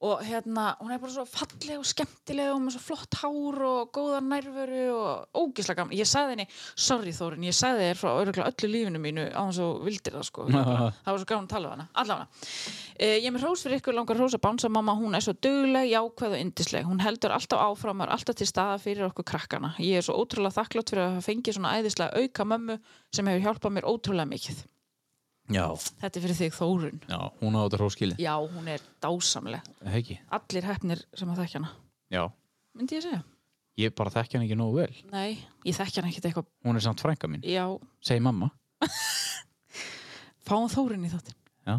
C: og hérna, hún er bara svo falleg og skemmtileg og með svo flott hár og góða nærveru og ógislega gaman ég sagði henni, sorry Þórun, ég sagði þér frá örugglega öllu lífinu mínu á hans og vildir það sko, Ég bara- það var svo gaman að tala við hana allavega, Eh, ég er með hrós fyrir ykkur langar hrós að bánsa mamma, hún er svo dugleg, jákvæð og yndisleg, hún heldur alltaf áfram og er alltaf til staða fyrir okkur krakkana ég er svo ótrúlega þakklátt fyrir að hafa fengið svona æðislega auka mömmu sem hefur hjálpað mér ótrúlega mikið
B: já,
C: þetta er fyrir þig Þórun
B: já, hún á þetta hróskilið
C: já, hún er dásamleg,
B: ekki,
C: allir hefnir sem að þekkja hana
B: já,
C: myndi ég segja?
B: ég bara þekki hann ekki nógu vel
C: Nei, ég þekkja hana ekkit eitthvað
B: hún er samt frænka mín,
C: já,
B: segi mamma
C: fáum Þórun í þáttin
B: já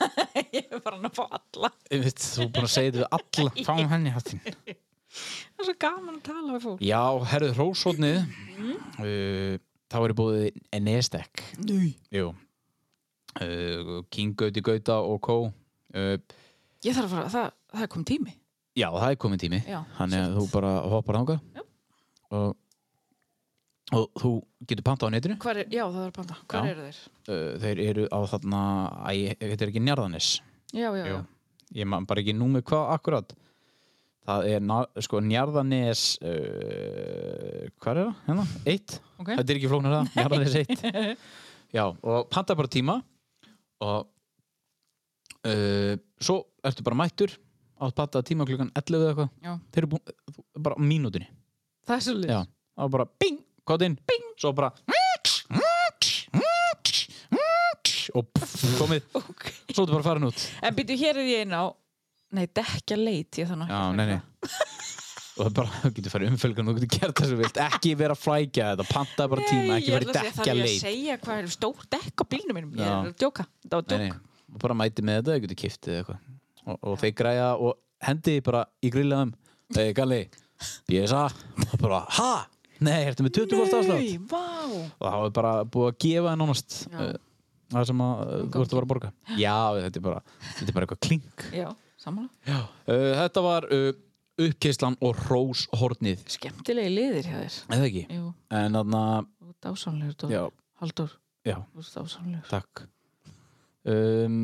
C: ég er bara hann að fá alla
B: Einmitt, þú er búin að segja þetta við alla fáum henni hattinn
C: það er svo gaman að tala við fólk
B: já, herðu hrósóðnið uh, þá er búið Enestek uh, King Gauti Gauta og Kó uh,
C: ég þarf að fara, það, það er kom tími
B: já, það er komið tími
C: Já,
B: hann er þú bara hoppar þangað og, og þú getur pantað á netinu
C: Hvar er, já, það er panta, hvar
B: Já.
C: eru þeir?
B: uh, þeir eru á þarna æ, þetta er ekki Njarðanes
C: Já, já, já.
B: Jú. ég man bara ekki númið hvað akkurat það er na, sko Njarðanes uh, hvað er það? Hérna? Eitt?
C: Ok.
B: Þetta er ekki flóknar það, Njarðanes eitt Já, og panta bara tíma og uh, svo ertu bara mættur átt panta tíma klukkan 11 eða
C: Já.
B: eitthvað þeir eru búin, þú- bara á mínútunni
C: Það er svo
B: Já, það var bara bing, kottinn, bing svo bara og pff, komið svo ertu bara farin út
C: En byrju, hér er ég inn á Nei, dekja leit ég þannig
B: Já, nei, nei Og það er bara, þú getur farið umfölgan, þú getur gert það sem þú vilt Ekki vera að flækja þetta, panta bara tíma Ekki
C: ég
B: verið
C: ætla að segja-
B: dekka
C: þarf ég að
B: leit
C: segja hvað er stór dekk á bílnum mínum Ég
B: Já.
C: er að djóka, það var
B: Nei,
C: djók
B: nei, og bara mæti með þetta, þau getur kiftið eða eitthvað og, og þeir græja og hendi bara í grillaðum Þegar Galli, BSA og bara, ha? Nei, ertu með 20 bort afslátt?
C: Nei, vá
B: og það var bara búið að gefa það nánast
C: Já.
B: eh, það sem að eh, þú ert að vera að borga já, þetta er bara, þetta er bara eitthvað klink
C: Já, samanlega
B: já. þetta var uh, uppkeislan og róshornið
C: Skemmtilegi liðir hjá þér
B: eða ekki
C: Jú,
B: en þarna,
C: þú ert ásánlegur, Dóri
B: já,
C: Haldur,
B: já,
C: þú ert ásánlegur
B: takk um,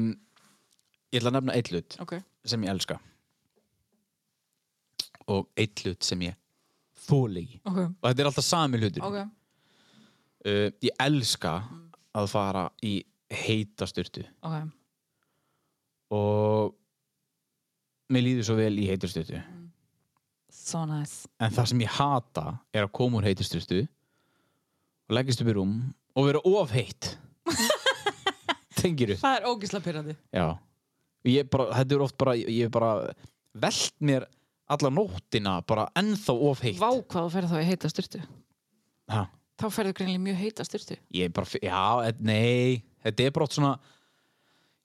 B: ég ætla að nefna eitt hlut
C: Ok,
B: sem ég elska og eitt hlut sem ég þóli í
C: ok,
B: og þetta er alltaf sami hlutur
C: ok Mm.
B: uh, ég elska að fara í heitasturtu
C: Ok,
B: og mér líður svo vel í heiturstyrtu
C: Mm. so nice
B: en það sem ég hata er að koma úr heiturstyrtu og leggist upp í rúm og vera of heitt tengir upp
C: Það er ógisla pyrrandi
B: já ég bara, þetta er oft bara ég er bara velt mér alla nóttina bara ennþá of heitt
C: Vá hvað þú ferð þá í heita styrtu
B: ha,
C: Þá ferðu greinlega mjög heita styrtu
B: ég er bara, f- já, et- nei þetta er bara oft svona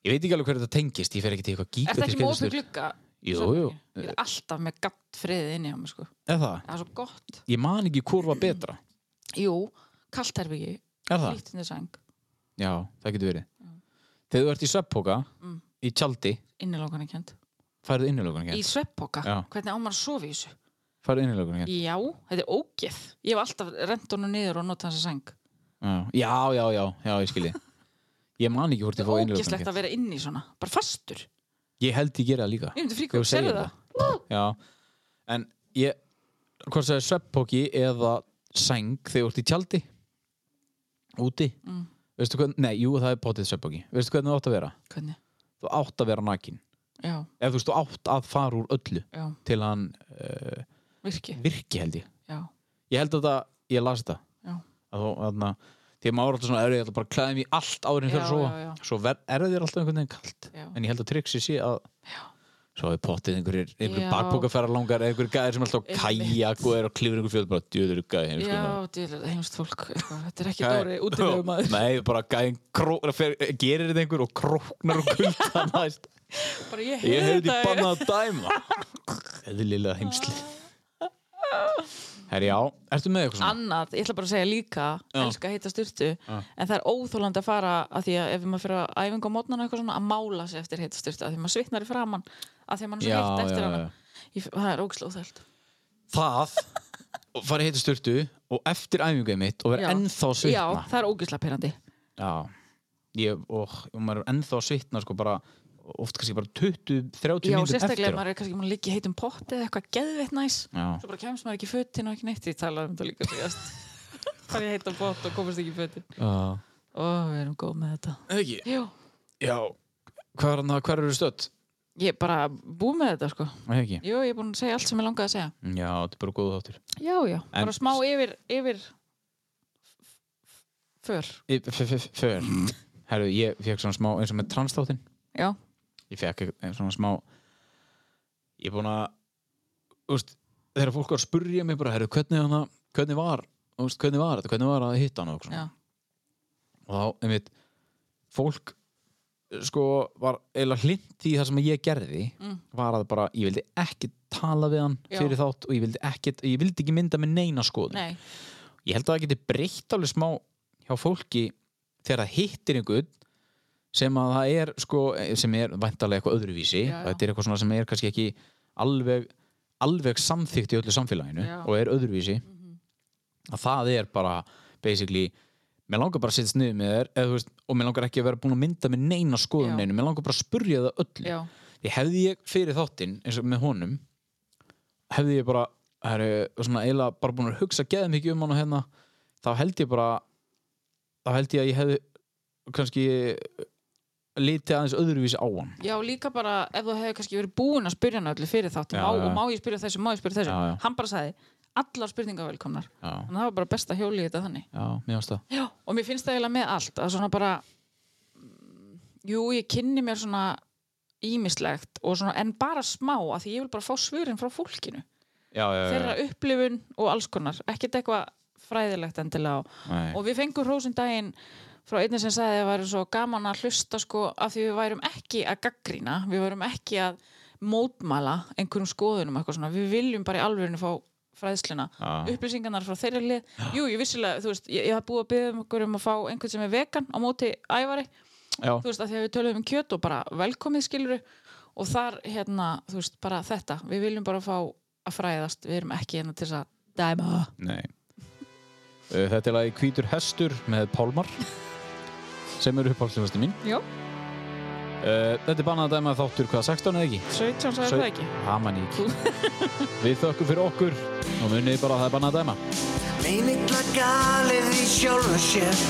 B: ég veit ekki alveg hverju þetta tengist, ég fer ekki til eitthvað
C: Er þetta
B: gíkvæmt
C: ekki með opið glugga?
B: Jú,
C: Svo-
B: jú.
C: Ég er alltaf með gatt friðið inni á mig sko
B: er það,
C: Það er svo gott
B: ég man ekki hvort var betra
C: Jú, kalt herbyggi,
B: er það?
C: hlýttinu sæng
B: Já, það getur verið. Þegar þú ert í sveppoka,
C: Mm.
B: í tjaldi,
C: Innilókana kjönd
B: færðu innilökunum
C: Í
B: kent.
C: sveppoka,
B: Já.
C: hvernig á maður að sofa í þessu?
B: Færðu innilökunum kent.
C: Já, þetta er ógeð Ég hef alltaf rent honum niður og notað hans að sæng
B: Já, já, já, já, ég skilji. Ég man ekki hvort ég fóði innilökunum
C: ógeðslegt
B: kent.
C: að vera inni í svona bara fastur,
B: Ég held ég gera það líka.
C: ég myndi
B: Þegar
C: fríkók,
B: þú
C: serðu
B: segir
C: það?
B: Já, en ég, hvort það er sveppoki eða sæng þegar þú ert í tjaldi, úti.
C: Mm.
B: Veistu hvernig, nei, jú, það er potið sveppoki. Veistu hvernig þú átt að vera?
C: hvernig,
B: Þú átt að vera nakin.
C: já,
B: Ef þú veist, þú átt að fara úr öllu
C: já,
B: til hann uh,
C: virki
B: virki, held ég.
C: já,
B: ég held að það, ég las þetta
C: Já.
B: að þú, þarna, því að maður er alltaf svona erfið, ég ætla bara að klæða mig í allt árin
C: Já,
B: fyrir að
C: já, já.
B: sofa svo ver- er það þér alltaf einhvern veginn kalt
C: Já.
B: en ég held að triksi sé að
C: Já.
B: svo er pottið einhverjir, einhverjir
C: Já.
B: bakbókaferðar langar einhverjir gæðir sem er alltaf á
C: Einmitt.
B: kajak og er að klifur einhver fjöld bara djöður gæði
C: já, dýrlega heimst fólk eitthvað. þetta er ekki dóri, útilegum maður
B: Nei, bara gæðin kró, fer, gerir þetta einhver og króknar og kulda næst
C: bara ég
B: Ég
C: heyri
B: hefði
C: þetta
B: bannað að dæma Eðlilega heimsli Herri, já, ertu með eitthvað svona?
C: annað, ég ætla bara að segja líka
B: Já.
C: elska að heita styrtu, en það er óþólandi að fara að því að ef maður fyrir að æfinga á mótnana eitthvað svona, að mála sig eftir heita styrtu að því maður svitnar í framann, að því maður er
B: Já,
C: svo heitt eftir
B: já,
C: hana
B: já.
C: Ég- það er ógislega óþælt
B: það og fara í heitu styrtu og eftir æfinguðið mitt og vera ennþá að
C: já,
B: svitna
C: það er ógislega pyrrandi
B: já, ég, og, og maður er ennþá að svitna sko bara, oft kannski bara 20-30
C: Já,
B: mínútur
C: sérstaklega
B: eftir
C: ef
B: á.
C: maður er kannski múin að liggja í heitum potti eða eitthvað geðveitt næs
B: Já.
C: svo bara kemst maður ekki í fötin og ekki neitt ég talaði um þetta líka síðast fara í heitan pott og komast ekki í fötin
B: Já.
C: Ó, við erum góð með þetta
B: Eða ekki?
C: Jú,
B: já, hvað er hann að hver eru stödd
C: ég er bara búið með þetta sko
B: Eða ekki?
C: Jú, ég er búin að segja allt sem ég langaði að segja
B: já, þetta er bara góð þáttur
C: Já, já,
B: En-
C: bara smá yfir, yfir för
B: Í- f- f- f- för, herru, ég fekk svona smá eins og með transþáttin
C: Já,
B: ég fekk svona smá ég er búin að úst, þegar fólk var að spurja mig bara, herru, hvernig, hana, hvernig var úst, hvernig var þetta, hvernig var að hitta hann og, eitthvað svona.
C: já,
B: og þá, einmitt fólk eh, sko var eiginlega hlind í það sem ég gerði var að bara, ég vildi ekki tala við hann
C: Já.
B: fyrir þátt og ég vildi ekki, ég vildi ekki mynda með neina skoðun
C: nei,
B: ég held að það geti breytt alveg smá hjá fólki þegar það hittir einhvern sem að það er sko, sem er væntalega eitthvað öðruvísi
C: Já, já.
B: þetta er eitthvað svona sem er kannski ekki alveg, alveg samþykkt í öllu samfélaginu
C: Já. Mhm.
B: og er öðruvísi að það er bara basically mér langar bara að setja sniðið með þér eða, þú veist, og mér langar ekki að vera búin að mynda með neina skoðum
C: Já.
B: neinu, mér langar bara að spurja það öllu
C: já,
B: því hefði ég fyrir þáttinn eins og með honum hefði ég bara heru, svona eiginlega bara búin að hugsa geða mikið um hann og hérna þá held ég bara þá held ég að ég hefði kannski litið aðeins öðruvísi á hann
C: já, líka bara ef þú hefur kannski verið búin að spyrja hann öllu fyrir þátt
B: Já,
C: má,
B: já.
C: og má ég spyrja þessu, má ég spyrja þessu
B: Já, já.
C: hann bara sagði, allar spurningar velkomnar
B: já,
C: þannig að það var bara best að hjóli þetta þannig
B: já, mér finnst það
C: Já, og mér finnst það eiginlega með allt að svona bara mm, jú, ég kynni mér svona ímislegt og svona, en bara smá af því ég vil bara fá svörin frá fólkinu
B: já, já,
C: þeirra upplifun og alls konar ekkert eitthvað fræðilegt endilega og,
B: Nei.
C: og við fengum hrósin daginn frá einni sem sagði að það væri svo gaman að hlusta sko af því við værum ekki að gaggrína, við værum ekki að mótmæla einhverjum skoðunum og eitthvað svona, við viljum bara í alvörinu fá fræðsluna,
B: Já.
C: upplýsingarnar frá þeirra lið, jú, ég vissilega, þú veist ég, ég hafði búið að byggja um okkur um að fá einhvern sem er vegan á móti ævari,
B: Já.
C: þú veist, að því að við töluðum um kjöt og bara velkomið skiluru og þar, hérna, þú veist, bara þetta við viljum bara fá að fræðast við erum ekki hérna til þess að dæma
B: Nei. Uh, Þetta er lagi Hvítur hestur með Pálmar sem eru uppáhaldslifastu mín.
C: Jó,
B: Uh, Þetta er bannað að dæma þáttur hvað 16 eða ekki?
C: 17 sagði það ekki
B: Það man ég ekki. Við þökkum fyrir okkur og munið bara að það er bannað að dæma.
H: Einigla galið í sjálfu sér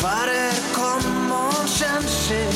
H: Hvar er common sense